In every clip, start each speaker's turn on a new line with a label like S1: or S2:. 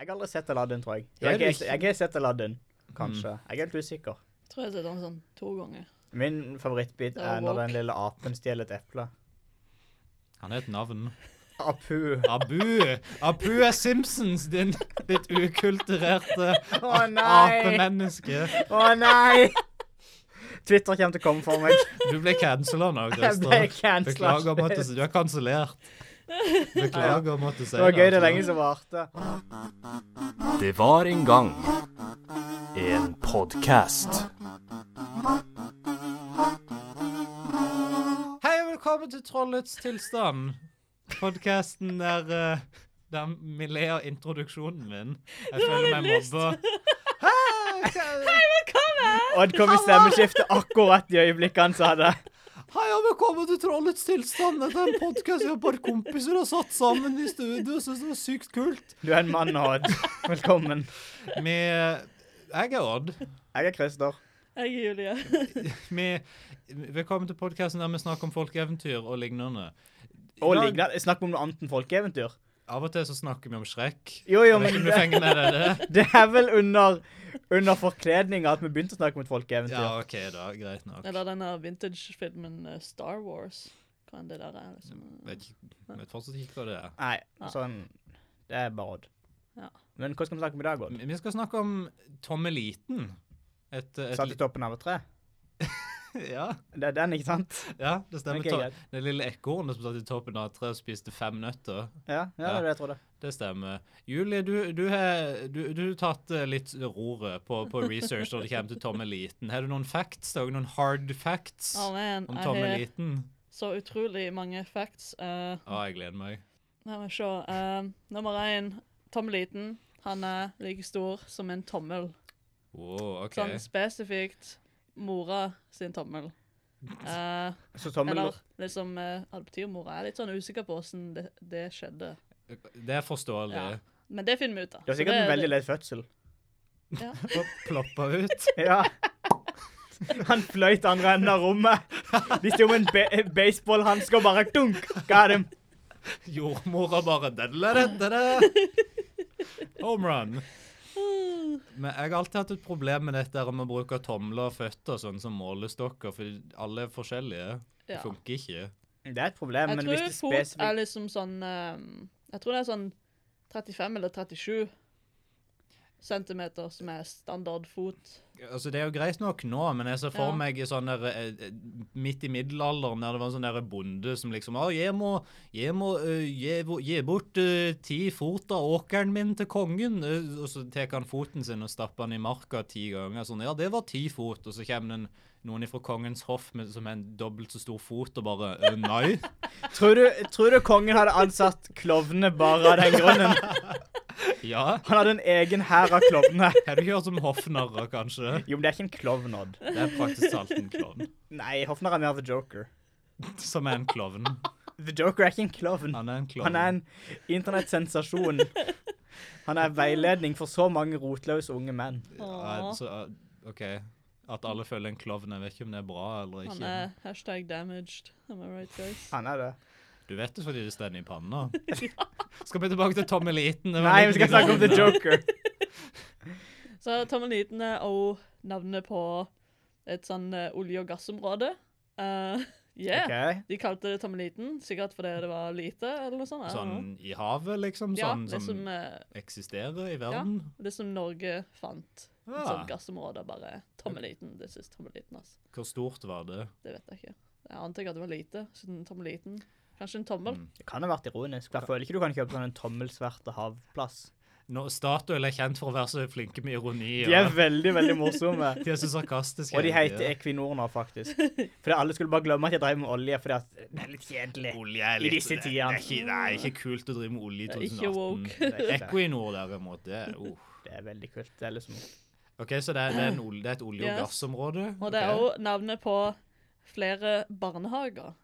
S1: Jeg har aldri sett Aladdin, tror jeg.
S2: Er
S1: Jeg,
S2: du
S1: jeg,
S2: ikke-
S1: jeg har sett Aladdin, kanskje. Jeg er helt usikker.
S3: Jeg tror jeg har sett den sånn to ganger.
S1: Min favorittbit
S3: Det var
S1: er når
S3: woke.
S1: den lille apen stjeler et eple.
S2: Han er et navn.
S1: Apu.
S2: Abu! Abu er Simpsons, din, ditt ukulturerte
S1: Å nei!
S2: apemenneske.
S1: Å nei! Twitter kommer til å komme for meg.
S2: Du ble cancela nå,
S1: Jeg ble
S2: Christer.
S1: cancela.
S2: Beklager om at du, du er kansellert. Beklager om at du sier
S1: Det var gøy det
S2: altså.
S1: lenge som varte.
S4: Det var en gang en podkast.
S2: Hei og velkommen til Trollets tilstand. Podkasten der, eh, der vi ler av introduksjonen min. Jeg føler meg mobba. Hei, hva-
S1: Odd kom i stemmeskiftet akkurat i øyeblikket han sa det.
S2: hei og velkommen til Trollets tilstand. Dette er en podkast jeg og et par kompiser har satt sammen i studio og syns det var sykt kult.
S1: Du er en mann, Odd. Velkommen.
S2: Vi Jeg er Odd.
S1: Jeg er Christer.
S3: Jeg er Julie.
S2: Vi, velkommen til podkasten der vi snakker om folkeeventyr og lignende.
S1: Og
S2: I dag-
S1: lignende. Snakk om noe annet enn folkeeventyr.
S2: Av og til så snakker vi om Shrek.
S1: Jo, jo,
S2: Jeg vet
S1: men
S2: ikke om du
S1: det,
S2: fenger med deg det?
S1: det er vel under, under forkledninga at vi begynte å snakke om et folkeeventyr.
S2: Ja, OK, da. Greit nok.
S3: Eller den der vintage-filmen eh, Star Wars. Hva enn det der er. liksom.
S2: Vet, ikke- vet fortsatt ikke hva det er.
S1: Nei,
S3: Ja.
S1: sånn Det er bare Odd.
S3: Ja.
S1: Men hva skal vi snakke om i dag, Odd?
S2: Vi skal snakke om Tommeliten. Et, et,
S1: Satt i toppen av et tre?
S2: ja,
S1: Det er den, ikke sant?
S2: ja, det stemmer.
S1: Ok,
S2: To-
S1: greit.
S2: det lille ekornet som satt i toppen av et tre og spiste fem nøtter.
S1: Ja, ja, det
S2: Ja.
S1: er det jeg trodde.
S2: Det stemmer. Julie, du, du har du, du har tatt eh, litt roret på, på research når det kommer til Tommeliten. Har du noen facts? Har du noen hard facts
S3: Å, man,
S2: om
S3: jeg har
S2: Tommeliten?
S3: så utrolig mange facts. eh,
S2: Å, jeg gleder meg.
S3: La meg se. eh, nummer én, tommeliten. Han er like stor som en tommel.
S2: Wow, OK.
S3: Sånn spesifikt mora sin tommel. Eh,
S1: Så tommel
S3: eller liksom eh, adoptivmora. Jeg er litt sånn usikker på hvordan det, det skjedde.
S2: Det er forståelig.
S3: Ja. Men det finner vi ut av.
S1: Det var sikkert en veldig lett fødsel.
S3: Ja.
S2: Og ploppa ut.
S1: Ja. Han fløy til andre enden av rommet. De sto med en be baseballhanske og bare dunk! Got him.
S2: Jordmora bare dadadadada. Home run. Men jeg har alltid hatt et problem med dette her om å bruke tomler og føtter sånn som målestokker, for alle er forskjellige. Det
S3: Ja.
S2: funker ikke.
S1: Det er et problem,
S3: Jeg
S1: men hvis
S3: tror
S1: det
S3: fot er
S1: spesifikt
S3: liksom sånn ehm, Jeg tror det er sånn 35 eller 37 centimeter som er standard fot.
S2: Altså, Det er jo greit nok nå, men jeg ser for
S3: Ja.
S2: meg i sånn der, eh, eh, midt i middelalderen der det var en sånn der bonde som liksom «Å, jeg må, jeg må eh, gi, bo- gi bort eh, ti fot av åkeren min til kongen. eh, og så tar han foten sin og stapper den i marka ti ganger. sånn, Ja, det var ti fot. Og så kommer den, noen fra kongens hoff med, som er en dobbelt så stor fot, og bare «Eh, Nei.
S1: tror du, tror du kongen hadde ansatt klovnene bare av den grunnen?
S2: Ja.
S1: Han hadde en egen hær av klovner.
S2: Har du hørt om hoffnarrer, kanskje?
S1: Jo, men det er ikke en klovn, Odd.
S2: Det er praktisk talt en klovn.
S1: Nei, Hofnar er mer The Joker.
S2: Som er en klovn.
S1: The Joker er ikke en klovn.
S2: Han er en klovn.
S1: Han er en internettsensasjon. Han er veiledning for så mange rotløse unge menn.
S2: Ja,
S3: Åh.
S2: så, uh, OK. At alle føler en klovn. Jeg vet ikke om det er bra eller
S3: Han
S2: ikke.
S3: er hashtag damaged. Am I right, guys?
S1: Han er det.
S2: Du vet det fordi det står i panna. Skal vi tilbake til tommeliten? Det var
S1: Nei,
S2: litt sånn,
S1: vi skal snakke om The Joker.
S3: Så tommeliten er òg navnet på et sånn eh, olje- og gassområde. Eh, yeah.
S1: Ok.
S3: De kalte det tommeliten, sikkert fordi det var lite, eller noe sånt. I don't know.
S2: Sånn i havet, liksom?
S3: ja,
S2: sånn
S3: det
S2: som,
S3: som, eh,
S2: eksisterer i verden?
S3: det som Norge fant. Et
S2: Ah.
S3: sånt gassområde, bare tommeliten. This is tommeliten, altså.
S2: Hvor stort var det?
S3: Det vet jeg ikke. Jeg antar ikke at det var lite, siden tommeliten. Kanskje en tommel?
S2: Mm,
S1: Det kan ha vært ironisk. for Jeg føler ikke du kan kjøpe sånn en tommelsverte havplass.
S2: Nå, Statoil er kjent for å være så flinke med ironi.
S1: De er veldig, veldig morsomme.
S2: de er så sarkastiske.
S1: Og de
S2: hele
S1: heter
S2: tiden.
S1: Equinor nå, faktisk. Fordi alle skulle bare glemme at jeg drev med olje, fordi at det er litt kjedelig.
S2: Olje
S1: E-
S2: er
S1: i
S2: litt,
S1: disse
S2: det- det,
S1: tidene.
S2: er ikke, det er ikke kult å drive med olje i
S3: Det
S2: 2018.
S3: er ikke woke.
S1: Det er, ikke det.
S2: Equinor, derimot, det er uh.
S1: det er veldig kult. Det er liksom
S2: OK, så det er, det er, en, ol- det er et olje- og
S3: Yes.
S2: gassområde?
S3: Og det er
S2: Ok.
S3: òg navnet på flere barnehager.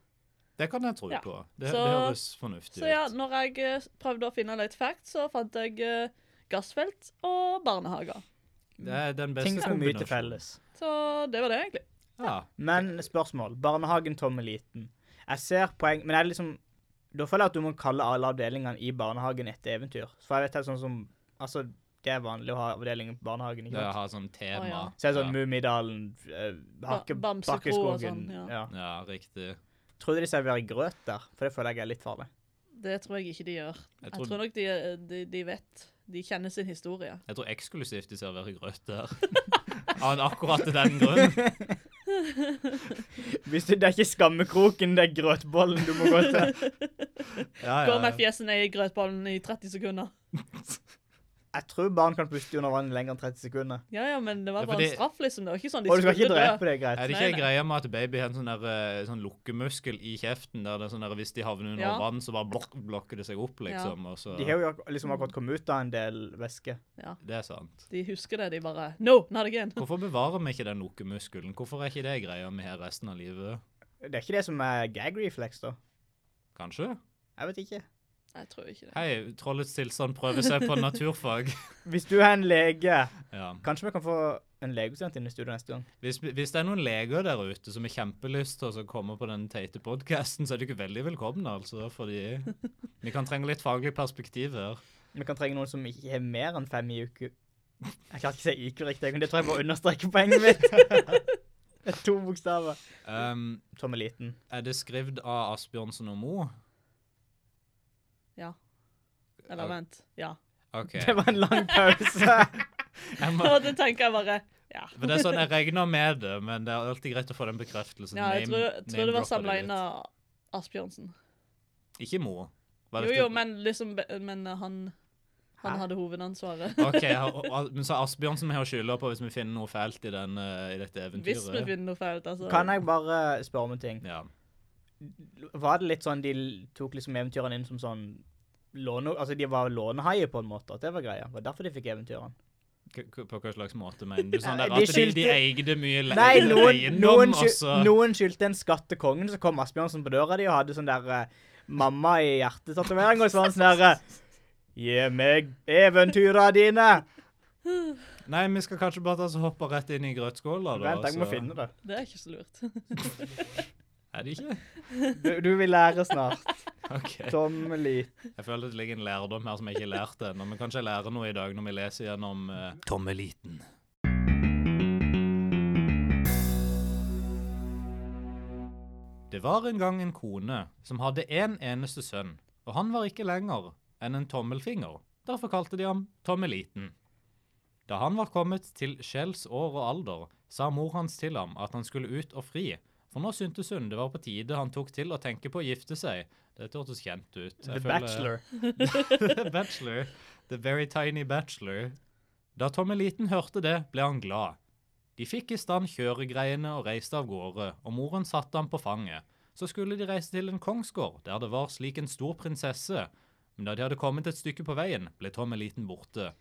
S2: Det kan jeg tro
S3: Ja.
S2: på. Det,
S3: Så-
S2: det høres fornuftig
S3: Så ja,
S2: ut.
S3: når jeg eh, prøvde å finne litt facts, så fant jeg eh, gassfelt og barnehager.
S2: Det er den beste
S1: ting som er mye til
S2: kombinasjonen.
S1: felles.
S3: Så det var det, egentlig.
S2: Ja.
S1: Men spørsmål. Barnehagen tommeliten. Jeg ser poeng, men er det liksom Da føler jeg at du må kalle alle avdelingene i barnehagen et eventyr. For jeg vet det er sånn som Altså, det er vanlig å ha avdeling på barnehagen,
S2: Det
S1: ikke sant?
S2: har sånn tema.
S3: Å, ja.
S1: Så er det sånn Mummidalen, eh, Hakke-
S3: Ba- Bamsekro
S1: Bakkeskogen
S3: og sånn, ja.
S1: ja.
S2: ja. ja, riktig.
S1: Tror du de serverer grøt der? For det føler jeg er litt farlig.
S3: Det tror jeg ikke de gjør.
S2: Jeg
S3: Jeg
S2: tror,
S3: tror nok de, eh, de, de vet De kjenner sin historie.
S2: jeg tror eksklusivt de serverer grøt der. Av en akkurat til den grunn.
S1: Hvis du, Det er ikke skammekroken, det er grøtbollen du må gå til.
S2: Ja,
S3: Gå med fjesen ned i grøtbollen i 30 sekunder.
S1: Jeg tror barn kan puste under vann lenger enn 30 sekunder.
S3: Ja, ja, men det var
S2: Ja,
S3: bare
S2: fordi-
S3: en straff, liksom. Det var ikke sånn de
S1: Og du skal ikke
S3: skulle dø.
S1: drepe det, greit.
S2: Er det
S3: Nei,
S2: ikke en
S3: nei.
S2: greie med at baby har en sånn, der, eh, sånn lukkemuskel i kjeften, der det er sånn der, hvis de havner under
S3: Ja.
S2: vann, så bare blok blokker det seg opp, liksom? Og så,
S1: De har jo ak- liksom akkurat kommet ut av en del væske.
S2: det er sant.
S3: De husker det, de bare No, not again.
S2: Hvorfor bevarer vi ikke den lukkemuskelen? Hvorfor er ikke det greia vi har resten av livet?
S1: Det er ikke det som er gag reflex, da.
S2: Kanskje?
S1: Jeg vet ikke.
S3: Jeg tror ikke det.
S2: Hei, trollets tilstand prøver seg på naturfag.
S1: Hvis du er en lege,
S2: Ja.
S1: kanskje vi kan få en legestudent inn i studio neste gang?
S2: Hvis, hvis det er noen leger der ute som har kjempelyst til å komme på den teite podkasten, så er de ikke veldig velkomne, altså. Fordi vi kan trenge litt faglig perspektiv her.
S1: Vi kan trenge noen som ikke har mer enn fem i uku. Jeg kan ikke si IQ riktig, men det tror jeg må understreke poenget mitt. Det er to bokstaver.
S2: Um,
S1: Tom er liten.
S2: er det skrevet av Asbjørnsen og Moe?
S3: Ja. Eller vent. Ja.
S2: OK.
S1: Det var en lang pause.
S2: Jeg må,
S3: Og det tenker jeg bare Ja.
S2: men det er sånn, Jeg regner med det, men det er alltid greit å få den bekreftelsen.
S3: ja jeg
S2: Name-
S3: tror, tror det var
S2: name-dropper
S3: samla
S2: litt.
S3: inn av Asbjørnsen.
S2: Ikke Moe. Var
S3: Jo,
S2: dette-
S3: jo, men liksom be- Men han Han
S1: Hæ?
S3: hadde hovedansvaret.
S2: OK, har- og- og- men så Asbjørnsen vi har skylda på hvis vi finner noe feilt i, den, eh, i dette eventyret.
S3: Hvis vi finner noe feil, altså.
S1: Kan jeg bare spørre om en ting?
S2: Ja.
S1: Var det litt sånn de tok liksom eventyrene inn som sånn låne... Altså, de var lånehaier på en måte, at det var greia. Det var derfor de fikk eventyrene.
S2: K- k- På hva slags måte mener du? Sånn
S1: Nei,
S2: der,
S1: de
S2: at de, de
S1: skyldte-
S2: eide mye le
S1: Nei, noen,
S2: eiendom, altså.
S1: noen,
S2: og så
S1: skyld, noen skyldte en skatt til kongen, så kom Asbjørnsen på døra di og hadde sånn der eh, mamma i hjertetatovering, og så var han sånn der eh, Gi meg eventyra dine!
S2: Nei, vi skal kanskje bare ta oss og hoppe rett inn i grøtskåla, da.
S1: Vent, jeg må
S2: så-
S1: finne det.
S3: Det er ikke så lurt.
S2: Er det ikke?
S1: Du, du vil lære snart.
S2: OK.
S1: Tommeli.
S2: Jeg føler det ligger en lærdom her som jeg ikke lærte ennå, men kanskje jeg lærer noe i dag når vi leser gjennom uh, Tommeliten. Det var en gang en kone som hadde en eneste sønn, og han var ikke lenger enn en tommelfinger. Derfor kalte de ham Tommeliten. Da han var kommet til skjells år og alder, sa mor hans til ham at han skulle ut og fri, for nå syntes hun det var på tide han tok til å tenke på å gifte seg. Dette hørtes kjent ut.
S1: The
S2: Jeg føler-
S1: Bachelor.
S2: The bachelor. The very tiny bachelor. Da Tommeliten hørte det, ble han glad. De fikk i stand kjøregreiene og reiste av gårde, og moren satte ham på fanget. Så skulle de reise til en kongsgård, der det var slik en stor prinsesse. Men da de hadde kommet et stykke på veien, ble Tommeliten borte.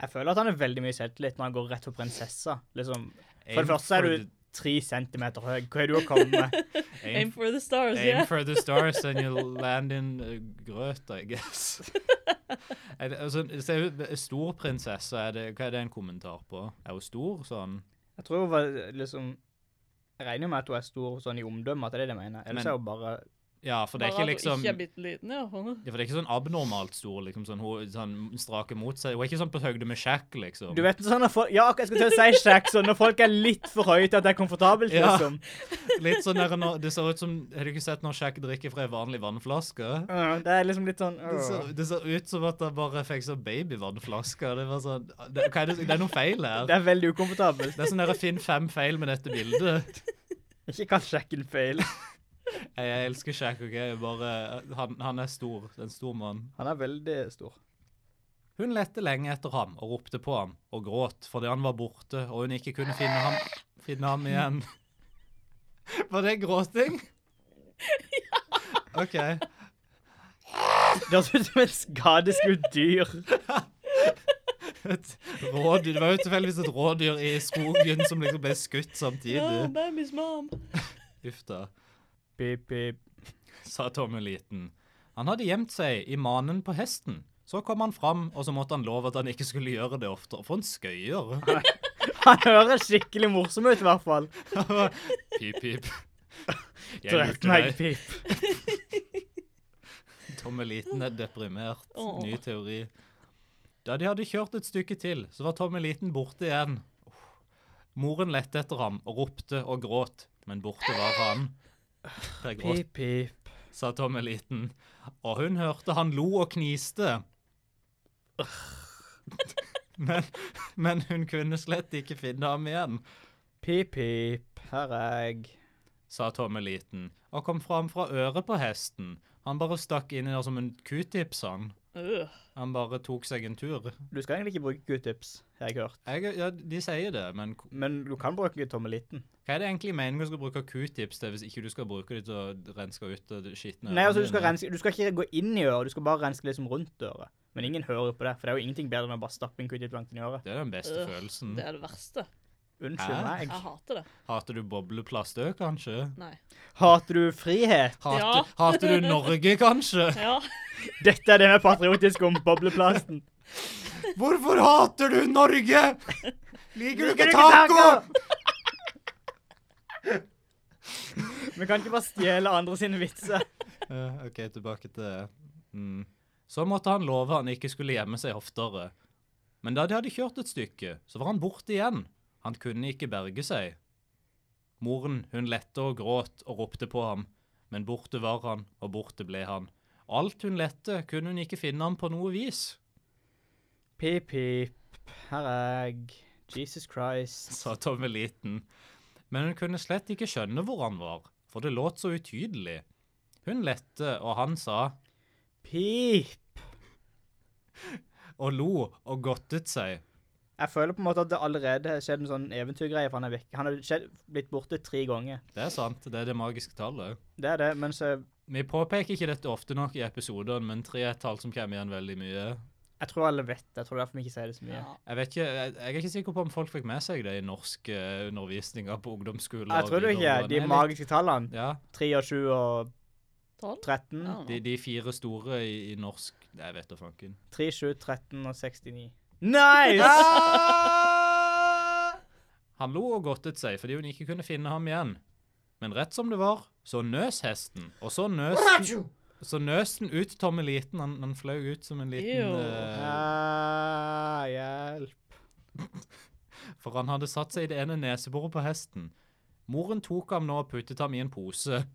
S1: Jeg føler at han er veldig mye selvtillit når han går rett for prinsessa. Liksom. For det første er du tre centimeter høy. Hva er du å komme med?
S3: Aim for the stars,
S2: Aim
S3: yeah.
S2: for the stars and you'll land in uh, grøt, I guess. er det, altså, ser ut- stor prinsesse, er det, hva er det en kommentar på? Er hun stor, sånn?
S1: Jeg tror hun var liksom Jeg regner jo med at hun er stor sånn i omdømme, at det er det jeg mener. Ellers
S2: Men-
S1: er hun bare
S2: Ja, for det er
S3: Bare
S2: ikke
S3: at hun
S2: liksom
S3: ikke er bitte liten, i hvert fall.
S2: ja, for det er ikke sånn abnormalt stor, liksom, sånn, hun sånn, strake mot seg. Hun er ikke sånn på høyde med Shaq, liksom.
S1: Du vet sånn når folk, Ja, jeg skulle til å si Shaq, så når folk er litt for høye til at det er komfortabelt,
S2: Ja.
S1: liksom.
S2: Litt sånn der, når, det ser ut som, har du ikke sett når Shaq drikker fra en vanlig vannflaske?
S1: Øh, Det er liksom litt sånn
S2: Det ser,
S1: øh.
S2: det ser ut som at han bare fikk sånn babyvannflaske. Det var sånn, det, hva er det, det er noe feil her.
S1: Det er veldig ukomfortabelt.
S2: Det er sånn der, finn fem feil med dette bildet.
S1: Ikke kall Shaq en feil.
S2: Jeg, jeg elsker Shaq, ok? Jeg Bare, han, han er stor, en stor mann.
S1: Han er veldig stor.
S2: Hun lette lenge etter ham og ropte på ham og gråt fordi han var borte og hun ikke kunne finne ham, finne ham igjen. Var det gråting? OK.
S1: Det høres ut som et skadeskutt dyr.
S2: Et rådyr. Det var jo tilfeldigvis et rådyr i skogen som liksom ble skutt
S3: No,
S2: samtidig.
S3: baby's mom.
S2: Uff da,
S1: Pip, pip.
S2: sa Tommeliten. Han hadde gjemt seg i manen på hesten. Så kom han fram, og så måtte han love at han ikke skulle gjøre det oftere. For en skøyer!
S1: Han høres skikkelig morsom ut, i hvert fall.
S2: Pip, pip. Jeg
S1: Drep
S2: lurte
S1: meg,
S2: deg.
S1: pip.
S2: Tommeliten er deprimert.
S3: Åh.
S2: Ny teori. Da de hadde kjørt et stykke til, så var Tommeliten borte igjen. Moren lette etter ham og ropte og gråt, men borte var han. Der gråt,
S1: Pip, pip.
S2: sa Tommeliten, og hun hørte han lo og kniste. Men, men hun kunne slett ikke finne ham igjen,
S1: Pip, pip. Her er jeg.
S2: sa Tommeliten, og kom fram fra øret på hesten. Han bare stakk inn i der som en q-tips, han.
S3: Øh.
S2: Han bare tok seg en tur.
S1: Du skal egentlig ikke bruke q-tips, har jeg hørt.
S2: Jeg, ja, de sier det, men k-
S1: Men du kan bruke tommeliten.
S2: hva er det egentlig meningen å skal bruke q-tips til hvis ikke du skal bruke det til å renske ut det skitne?
S1: Nei, altså
S2: ørene
S1: du skal,
S2: dine?
S1: renske, du skal ikke gå inn i øret, du skal bare renske liksom rundt øret. Men ingen hører på det, for det er jo ingenting bedre enn å bare stappe en q-tip langt inn i øret.
S2: Det er den beste
S3: Øh,
S2: følelsen.
S3: Det er det verste.
S1: Unnskyld
S2: Hæ?
S1: meg.
S3: Jeg hater det.
S2: Hater du bobleplast òg, kanskje?
S3: Nei.
S1: Hater du frihet?
S2: Hater,
S3: Ja.
S2: hater du Norge, kanskje?
S3: Ja.
S1: Dette er det med patriotisk om bobleplasten.
S2: Hvorfor hater du Norge? Liker du
S1: Liker
S2: ikke
S1: du ikke
S2: taco?
S1: Vi kan ikke bare stjele andre sine vitser.
S2: Eh, OK, tilbake til mm. Så måtte han love han ikke skulle gjemme seg oftere. Men da de hadde kjørt et stykke, så var han borte igjen. Han kunne ikke berge seg. Moren, hun lette og gråt og ropte på ham, men borte var han, og borte ble han. Alt hun lette, kunne hun ikke finne ham på noe vis.
S1: Pip, pip. Her er jeg. Jesus Christ.
S2: sa Tommeliten. Men hun kunne slett ikke skjønne hvor han var, for det låt så utydelig. Hun lette, og han sa,
S1: Pip.
S2: og lo og godtet seg.
S1: Jeg føler på en måte at det allerede har skjedd en sånn eventyrgreie, for han er vekke. Han har skjedd, blitt borte tre ganger.
S2: Det er sant, det er det magiske tallet.
S1: Det er det, eh, men så
S2: Vi påpeker ikke dette ofte nok i episodene, men tre er et tall som kommer igjen veldig mye.
S1: Jeg tror alle vet det. Jeg tror derfor vi ikke sier det så mye.
S3: ja.
S2: Jeg vet ikke, jeg, jeg er ikke sikker på om folk fikk med seg det i norske undervisninger på ungdomsskoler. og
S1: Jeg tror du ikke.
S2: videregående.
S1: De
S2: Nei,
S1: magiske tallene.
S2: Ja,
S1: 3 og 7 og
S3: Tolv?
S1: 13.
S3: Ja, nå.
S2: de, de fire store i, i norsk, Nei, jeg vet da fanken.
S1: 3, 7, 13 og 69. Nice!
S2: Han lo og godtet seg fordi hun ikke kunne finne ham igjen. Men rett som det var, så nøs hesten, og så nøs den, så nøs den ut tommeliten. Han, han fløy ut som en liten
S3: Ew.
S2: eh,
S1: Ah, hjelp.
S2: For han hadde satt seg i det ene neseboret på hesten. Moren tok ham nå og puttet ham i en pose.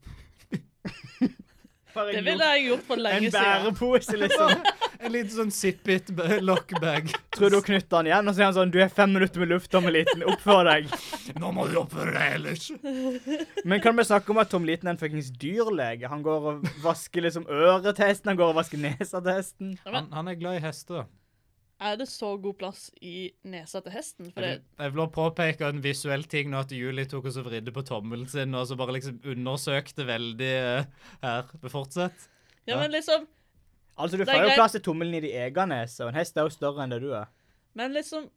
S1: Bare
S3: Det
S1: en
S3: ville jeg gjort for lenge
S1: En
S3: siden.
S1: bærepose, liksom.
S2: En liten sånn zippet-lockbag.
S1: Tror du knytter han igjen, og så er han sånn Du er fem minutter med luft, Tommeliten. Oppfør deg.
S2: Nå må du oppføre deg ellers.
S1: Men kan vi snakke om at Tommeliten er en fuckings dyrlege? Han går og vasker liksom øret til hesten, han går og vasker nesa til hesten.
S2: Han, han er glad i hester.
S3: Er det så god plass i nesa til hesten? For
S2: Jeg vil,
S3: det,
S2: jeg vil også påpeke en visuell ting nå at Julie tok oss og vridde på tommelen sin og så bare liksom undersøkte veldig eh, her. Men Fortsett.
S3: ja, men liksom
S1: Altså, du
S3: Det er
S1: får jo
S3: greit.
S1: plass til tommelen i din egen nese, og en hest er jo større enn det du er.
S3: Men liksom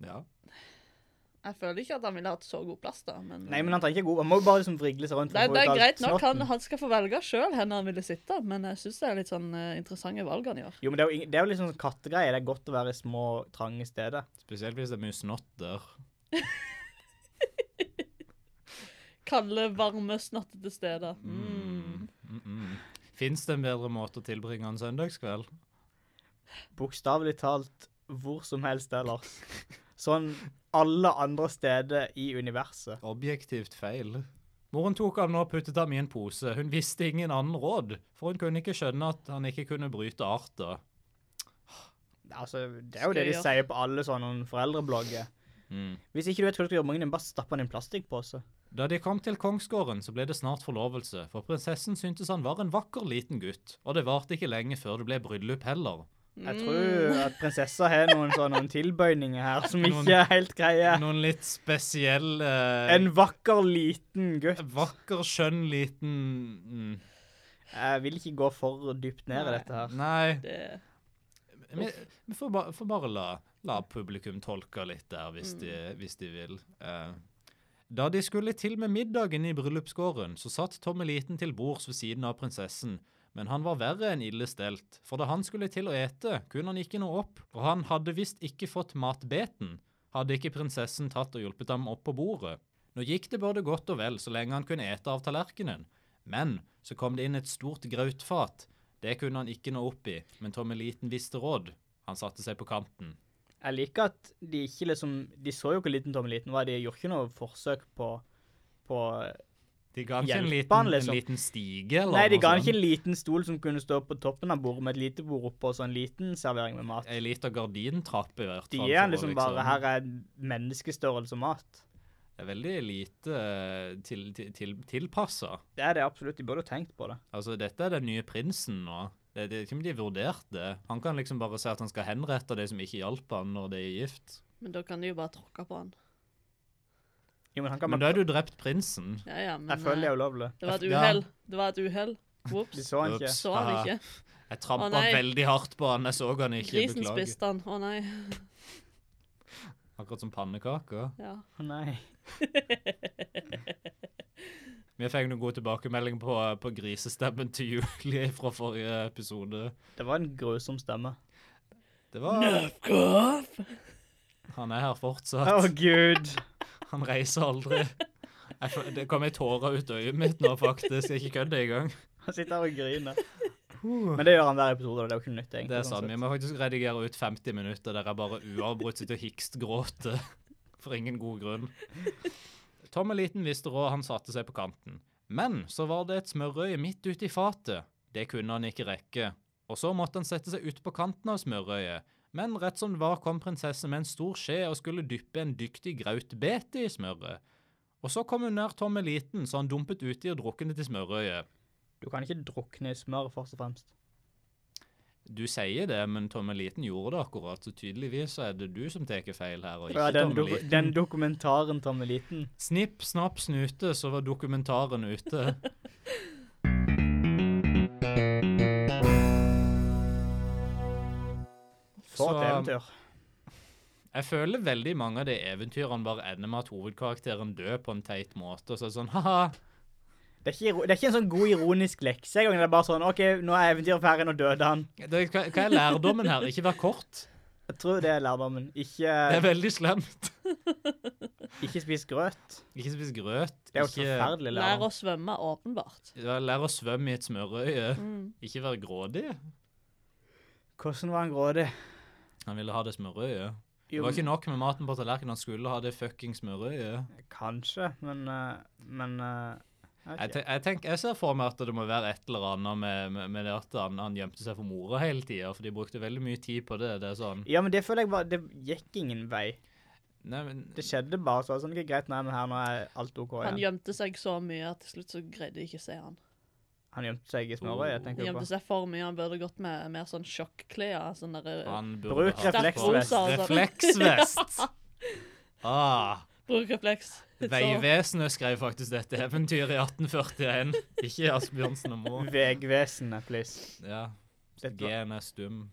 S2: Ja.
S3: Jeg føler ikke at han ville hatt så god plass, da. Men, eh,
S1: Nei, men han trenger ikke god Han må jo bare liksom vrigle seg rundt. for
S3: det,
S1: å få
S3: det
S1: ut
S3: er
S1: alt
S3: greit nok.
S1: snotten.
S3: Han, han skal få velge sjøl hvor han ville sitte, men jeg syns det er litt sånn eh, interessante valg han gjør.
S1: Jo, men det er jo, ing- det er jo liksom sånn kattegreie. Det er godt å være i små, trange steder.
S2: Spesielt hvis det er mye snott der.
S3: Kalde, varme, snattete steder. Mm.
S2: Mm -mm. Fins det en bedre måte å tilbringe en søndagskveld?
S1: Bokstavelig talt hvor som helst ellers. Sånn alle andre steder i universet.
S2: Objektivt feil. Moren tok ham nå og puttet ham i en pose. Hun visste ingen annen råd, for hun kunne ikke skjønne at han ikke kunne bryte arter.
S1: Altså, Det er jo det de
S3: Skøyer.
S1: sier på alle sånne foreldreblogger.
S2: Mm.
S1: Hvis ikke du vet hva du skal gjøre med ungen din, bare stapp den i en plastikkpose.
S2: Da de kom til kongsgården, så ble det snart forlovelse, for prinsessen syntes han var en vakker liten gutt, og det varte ikke lenge før det ble bryllup heller.
S1: Jeg tror
S3: Mm.
S1: at prinsessa har noen sånne noen tilbøyninger her som
S2: Noen-
S1: ikke er helt greie.
S2: Noen litt spesiell eh,
S1: En vakker liten gutt.
S2: vakker, skjønn liten mm,
S1: Jeg vil ikke gå for dypt ned i
S3: Nei.
S1: dette her.
S2: Nei.
S3: Det,
S2: Vi, vi får, ba, får bare la, la publikum tolke litt der, hvis, de, hvis de vil. Eh, da de skulle til med middagen i bryllupsgården, så satt Tommeliten til bords ved siden av prinsessen. Men han var verre enn ille stelt, for da han skulle til å ete, kunne han ikke nå opp, og han hadde visst ikke fått matbeten, hadde ikke prinsessen tatt og hjulpet ham opp på bordet. Nå gikk det både godt og vel så lenge han kunne ete av tallerkenen, men så kom det inn et stort grautfat. Det kunne han ikke nå opp i, men Tommeliten visste råd. Han satte seg på kanten.
S1: Jeg liker at de ikke liksom De så jo hvor liten Tommeliten var. De gjorde ikke noe forsøk på, på
S2: De ga han ikke en
S1: Hjelper
S2: liten,
S1: han, liksom?
S2: en liten stige, eller
S1: Nei, de
S2: noe
S1: ga han ikke
S2: sånt.
S1: en liten stol som kunne stå på toppen av bordet med et lite bord oppå og så en liten servering med mat.
S2: Ei lita gardintrappe i hvert
S1: De
S2: fall,
S1: gir han
S2: for å
S1: liksom bare Her er menneskestørrelse mat.
S2: Det er veldig lite eh, til, til, til, tilpassa.
S1: Det er det absolutt. De burde jo tenkt på det.
S2: Altså, dette er den nye prinsen nå. Det, det er ikke om de vurderte det. Han kan liksom bare si at han skal henrette de som ikke hjalp han når de er gift.
S3: Men da kan de jo bare tråkke på han.
S1: Jo, men han kan
S2: Men
S1: bare
S2: da har du drept prinsen.
S3: Ja, ja, men
S1: Jeg føler det
S3: eh,
S1: er ulovlig.
S3: det var et
S2: Ja.
S3: uhell. Det var et uhell.
S1: De
S3: Vops.
S1: så han ikke.
S2: Ups.
S3: Så han
S2: Ah,
S3: ikke.
S2: Jeg trampa
S3: Å, nei.
S2: veldig hardt på han. Jeg så han ikke.
S3: Grisen
S2: Beklager.
S3: spiste han. Å nei.
S2: Akkurat som pannekaker.
S3: Ja.
S1: Å nei.
S2: Vi fikk noen gode tilbakemeldinger på, på grisestemmen til Julie fra forrige episode.
S1: Det var en grusom stemme.
S2: Det var Han er her
S1: Å,
S2: fortsatt.
S1: gud.
S2: Han reiser aldri. Jeg, f- det kom ei tåre ut av øyet mitt nå, faktisk. Jeg er ikke kødder engang.
S1: Han sitter her og griner.
S2: Uh.
S1: Men det gjør han hver episode, og det er jo ikke nytt, egentlig.
S2: Det er sant.
S1: sånn
S2: Vi
S1: sett.
S2: må faktisk redigere ut 50 minutter der jeg bare uavbrutt sitter og hikstgråter. For ingen god grunn. Tommeliten visste råd, han satte seg på kanten. Men så var det et smørøye midt ute i fatet. Det kunne han ikke rekke. Og så måtte han sette seg ut på kanten av smørøyet. Men rett som det var, kom prinsessen med en stor skje og skulle dyppe en dyktig grautbete i smøret. Og så kom hun nær Tommeliten, så han dumpet uti og druknet i smørøyet.
S1: Du kan ikke drukne i smør, først og fremst.
S2: Du sier det, men Tommeliten gjorde det akkurat, så tydeligvis så er det du som tar feil her, og ikke
S1: Ja, den, do
S2: Tommeliten.
S1: den dokumentaren Tommeliten.
S2: Snipp, snapp, snute, så var dokumentaren ute.
S1: For et
S2: Så,
S1: eventyr.
S2: Jeg føler veldig mange av de eventyrene bare ender med at hovedkarakteren dør på en teit måte, og så er det sånn ha-ha.
S1: Det er, ikke, iro- det er ikke en sånn god ironisk lekse engang. Det er bare sånn OK, nå er eventyret ferdig, nå døde han.
S2: Det- Hva hva er lærdommen her? Ikke vær kort.
S1: Jeg tror det er lærdommen.
S2: Det er
S1: Ikke,
S2: veldig slemt.
S1: ikke spis grøt.
S2: Ikke spis grøt.
S1: Det er jo
S2: ikke-
S1: forferdelig
S3: Lær
S1: lærdom.
S3: å svømme, åpenbart.
S2: Ja, Lær å svømme i et smørøye.
S3: Mm.
S2: Ikke vær grådig.
S1: Hvordan var han grådig?
S2: Han ville ha det smørøyet. Det
S1: Jo,
S2: var ikke nok med maten på tallerkenen, han skulle ha det fucking smørøyet.
S1: kanskje, men eh, Men eh, jeg
S2: Jeg,
S1: vet ikke.
S2: te- jeg, tenker, jeg ser for meg at det må være et eller annet med, med, med det at han, han gjemte seg for mora hele tida, for de brukte veldig mye tid på det. Det er sånn
S1: Ja, men det føler jeg bare Det gikk ingen vei.
S2: Nei, men
S1: Det skjedde bare så var det sånn. Det er greit, nei, men her nå er alt OK
S3: Han
S1: igjen.
S3: gjemte seg så mye at til slutt så greide de ikke å se han.
S1: Han gjemte seg i smørøyet,
S3: Han
S1: tenker jeg
S3: gjemte
S1: på.
S3: seg for mye. Han burde gått med mer sånn sjokklær. Sånn der,
S2: han
S1: Bruk
S2: hatt på-
S1: refleksvest.
S2: Refleksvest! Ah,
S3: bruk refleks. Så-
S2: Vegvesenet skrev faktisk dette eventyret i 1841, ikke Asbjørnsen og Moe.
S1: Vegvesenet, please.
S2: Ja.
S1: Dette var-
S2: G-en er stum.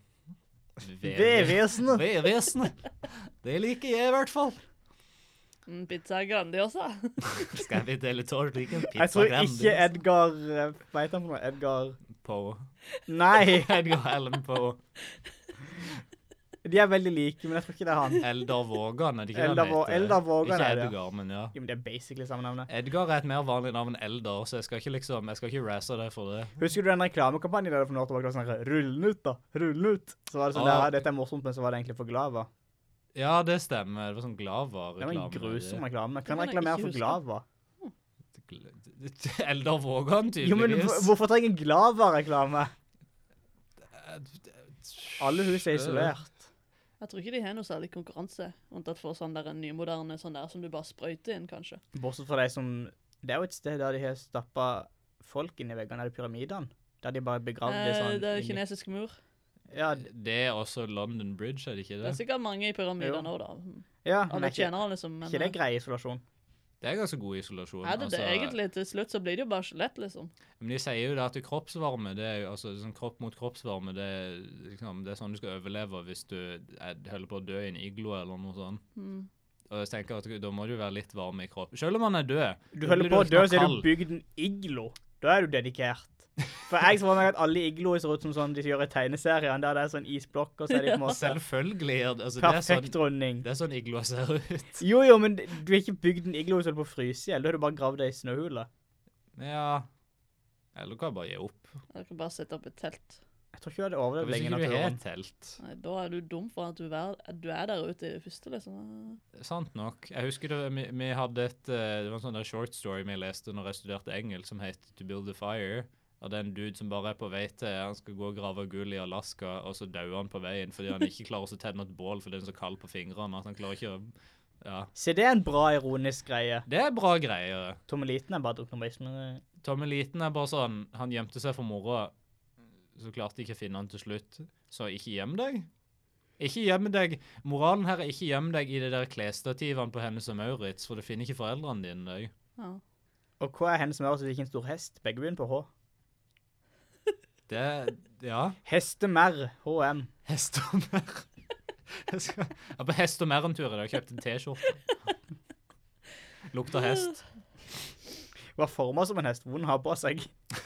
S1: Vegvesenet!
S2: Vegvesenet! Det liker jeg i hvert fall.
S3: Mm, Pizza er Grandiosa.
S2: Skal vi dele tolv like en pizza
S1: Jeg tror
S2: Grandis
S1: ikke Edgar eh, Hva heter han for noe? Edgar
S2: på
S1: Nei!
S2: Edgar Allan Poe.
S1: De er veldig like, men jeg tror ikke det er han.
S2: Eldar Vågan, er det ikke
S1: Eldar
S2: det
S1: Vå-
S2: han heter?
S1: Eldar Vågan
S2: ikke
S1: er det, ja.
S2: Edgar, men ja.
S1: Jo, men Det er basically samme navnet.
S2: Edgar er et mer vanlig navn enn Eldar, så jeg skal ikke liksom, jeg skal ikke razze deg for det.
S1: Husker du den reklamekampanjen der det for noen år tilbake var sånn her, 'Rull den ut, da! Rull den ut!' Så var det sånn
S2: Ah.
S1: der, Dette er morsomt, men så var det egentlig for Glava.
S2: Ja, det stemmer. Det var sånn
S1: Det var
S2: Glava-reklame.
S1: en grusom reklame.
S3: Det
S1: Kan
S3: kan jeg
S1: reklamere
S3: ikke
S1: for
S3: huske.
S1: Glava.
S2: reklame. Eldar Vågan,
S1: Jo, men
S2: tydeligvis.
S1: hvor- hvorfor trenger Glava-reklame? Alle hus er isolert.
S3: Jeg tror ikke de har noe særlig konkurranse, unntatt for sånn der en nymoderne sånn der som du bare sprøyter inn, kanskje.
S1: Bortsett fra de som Det er jo et sted der de har stappa folk inn i veggene, er det pyramidene? Der de bare begravde
S3: Eh,
S1: sånn
S3: det er
S1: inni-
S3: kinesisk mur.
S1: Ja, d-
S2: Det er også London Bridge, er det ikke
S3: Det
S2: det?
S3: er sikkert mange i pyramidene nå, da. Mm.
S1: ja men er
S3: Alle
S1: ikke,
S3: tjenerne, liksom. Men
S1: ikke det
S3: eh,
S1: grei isolasjon?
S2: Det er ganske god isolasjon.
S3: er det det
S2: altså.
S3: egentlig? Til slutt så blir det jo bare skjelett, liksom.
S2: Men de sier jo det at kroppsvarme, det er jo, altså sånn kropp mot kroppsvarme, det er, liksom, det er sånn du skal overleve hvis du er, holder på å dø i en iglo eller noe sånt.
S3: Mm.
S2: Og jeg tenker at da må du være litt varm i kroppen. Selv om han er død.
S1: Du
S2: da
S1: holder
S2: blir sånn
S1: på å dø,
S2: ikke noe
S1: så har du
S2: kald.
S1: bygd en iglo. Da er du dedikert. For jeg så for meg at alle igloer ser ut som sånn de gjør i tegneseriene, der det er sånn isblokk, og så er de på en måte
S2: Selvfølgelig. er det- Altså, det, er
S1: perfekt
S2: sånn,
S1: runding.
S2: det er sånn igloer ser ut.
S1: Jo, jo, men du har ikke bygd en iglo som du holder på å fryse i hjel. Da har du bare gravd ei snøhule.
S2: Ja. Eller du kan bare gi opp.
S3: Dere kan bare sette opp et telt.
S1: Jeg tror ikke du hadde overlevd
S2: Hvis
S1: lenge i
S2: ikke du har
S1: naturen.
S2: telt.
S3: Nei, da er du dum for at du er, at du er der ute i det første, liksom.
S2: Sant nok. Jeg husker det, vi, vi hadde et eh, Det var en sånn der short story vi leste når jeg studerte engelsk, som het To Build a Fire. Og det er en dude som bare er på vei til Han skal gå og grave gull i Alaska, og så dauer han på veien fordi han ikke klarer å tenne et bål fordi det er så kaldt på fingrene. At han klarer ikke å Ja.
S1: Se, det er en bra ironisk greie.
S2: Det er bra greier.
S1: Tommeliten er bare druknomisme.
S2: Tommy Liten er bare sånn Han gjemte seg for moroa, så klarte jeg ikke å finne han til slutt. Så ikke gjem deg. Ikke gjem deg. Moralen her er ikke gjem deg i det der klesstativene på Hennes og Maurits, for du finner ikke foreldrene dine deg.
S3: Ja.
S1: Og hva er hennes mor som fikk en stor hest? Begge begynner på H.
S2: Det Ja.
S1: Hestemer. HM.
S2: Hest og mer. Jeg skal jeg er på hest og mer-en-tur i dag. Jeg Kjøpte en T-skjorte. Lukter hest.
S1: Var forma som en hest. Vond å ha på seg.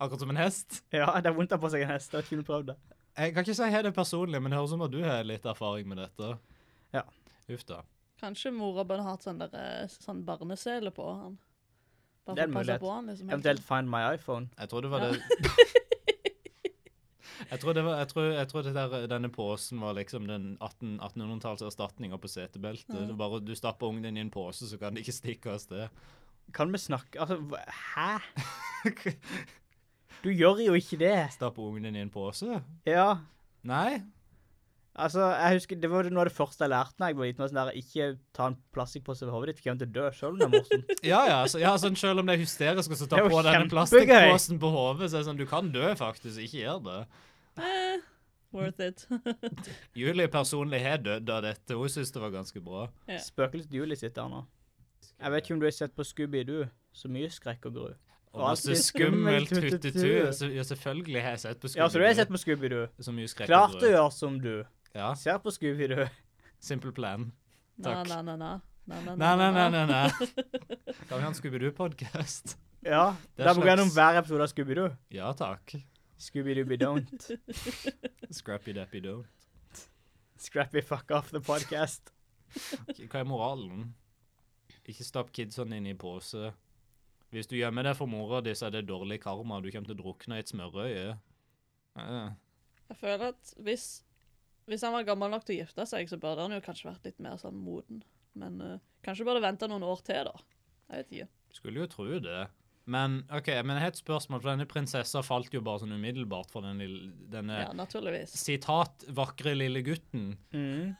S2: Akkurat som en hest.
S1: Ja, det er vondt å ha på seg en hest. Jeg har ikke prøvd det.
S2: Jeg kan ikke si jeg har det personlig, men det høres ut som at du har litt erfaring med dette.
S1: Ja.
S2: Uff da.
S3: Kanskje mora burde hatt sånn, der, eh, sånn barnesele på han. Bare
S1: Det er en
S3: for å passe
S1: mulighet.
S3: på han, liksom. hele
S1: Eventuelt Find My iPhone.
S2: Jeg tror det var det Jeg tror, det var, jeg tror, jeg tror det der, denne posen var liksom den 18, 1800-talls erstatninga på setebeltet.
S3: Ja.
S2: Så Bare du stapper ungen din i en pose, så kan det ikke stikke av sted.
S1: Kan vi snakke Altså, hva- hæ? Du gjør jo ikke det.
S2: Stapper ungen din i en pose?
S1: Ja.
S2: Nei.
S1: Altså, jeg husker, Det var jo noe av det første jeg lærte da jeg var liten. var Sånn der, ikke ta en plastikkpose over hodet ditt, for du kommer til å dø selv om det er morsomt.
S2: Ja, ja, så, ja sånn, selv om det er hysterisk å så ta
S1: Det er jo
S2: på denne
S1: kjempegøy.
S2: plastikkposen på hodet, så er det sånn Du kan dø, faktisk. Ikke gjør det.
S3: Eh, worth it.
S2: Julie personlig har dødd av dette. Hun syns det var ganske bra.
S1: Spøkelset Julie sitter her nå. Jeg vet ikke om du har sett på Scooby-Doo. Så mye skrekk og gru.
S2: Og masse skummelt huttetur. Så- Ja, selvfølgelig har jeg sett på
S1: Ja, så du har
S2: Scooby-Doo.
S1: sett på Scooby-Doo.
S2: Så mye skrekk og
S1: Klart
S2: gru.
S1: å gjøre som du.
S2: Ja,
S1: Ser på Scooby-Doo.
S2: simple plan.
S3: Na,
S2: Takk.
S3: na, na, na. Na, na,
S2: Nei, nei, nei, nei, nei. Kan vi ha en Scooby-Doo-podcast?
S1: Ja,
S2: Det er
S1: Da må vi
S2: slags-
S1: gjennom hver episode av Scooby-Doo.
S2: Ja, takk.
S1: Scooby-Dooby don't.
S2: Scrappy-dappy-doo.
S1: Scrappy fuck off the podcast.
S2: Hva er moralen? Ikke stapp kidsene inn i pose. Hvis du gjemmer deg for mora di, så er det dårlig karma. Du kommer til å drukne i et smørøye. Eh,
S3: Jeg føler at hvis, hvis han var gammel nok til å gifte seg, så burde han jo kanskje vært litt mer sånn moden. Men eh, kanskje burde vente noen år til, da. Jeg vet ikke.
S2: Skulle jo tro det. Men ok, men jeg har et spørsmål, for denne prinsessa falt jo bare sånn umiddelbart for den lille, denne
S3: Ja, naturligvis.
S2: sitat vakre lille gutten.
S1: Mm.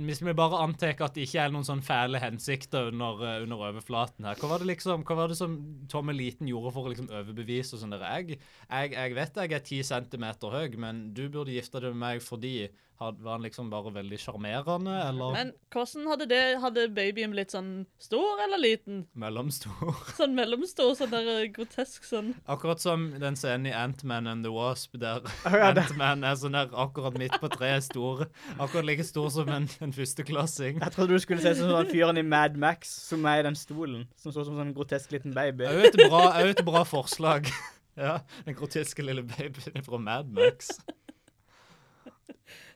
S2: Hvis vi bare antar at det ikke er noen sånn fæle hensikter under, eh, under overflaten her, hva var det liksom, hva var det som Tom Eliten gjorde for å liksom overbevise og sånn der? Jeg, jeg, jeg vet jeg er ti centimeter høy, men du burde gifte deg med meg fordi had, var han liksom bare veldig sjarmerende, eller
S3: Men hvordan hadde det Hadde babyen blitt sånn stor eller liten?
S2: mellomstor?
S3: Sånn mellomstor, sånn der eh, grotesk sånn.
S2: Akkurat som den scenen i Ant-Man and the Wasp, der
S1: ja, det-
S2: Ant-Man er sånn der akkurat midt på treet stor, akkurat like stor som en, en førsteklassing.
S1: Jeg trodde du skulle se sånn som han fyren i Mad Max som er i den stolen. Som så ut som en sånn grotesk liten baby.
S2: Det er jo et bra, det er jo et bra forslag. Ja, Den groteske lille babyen fra Mad Max.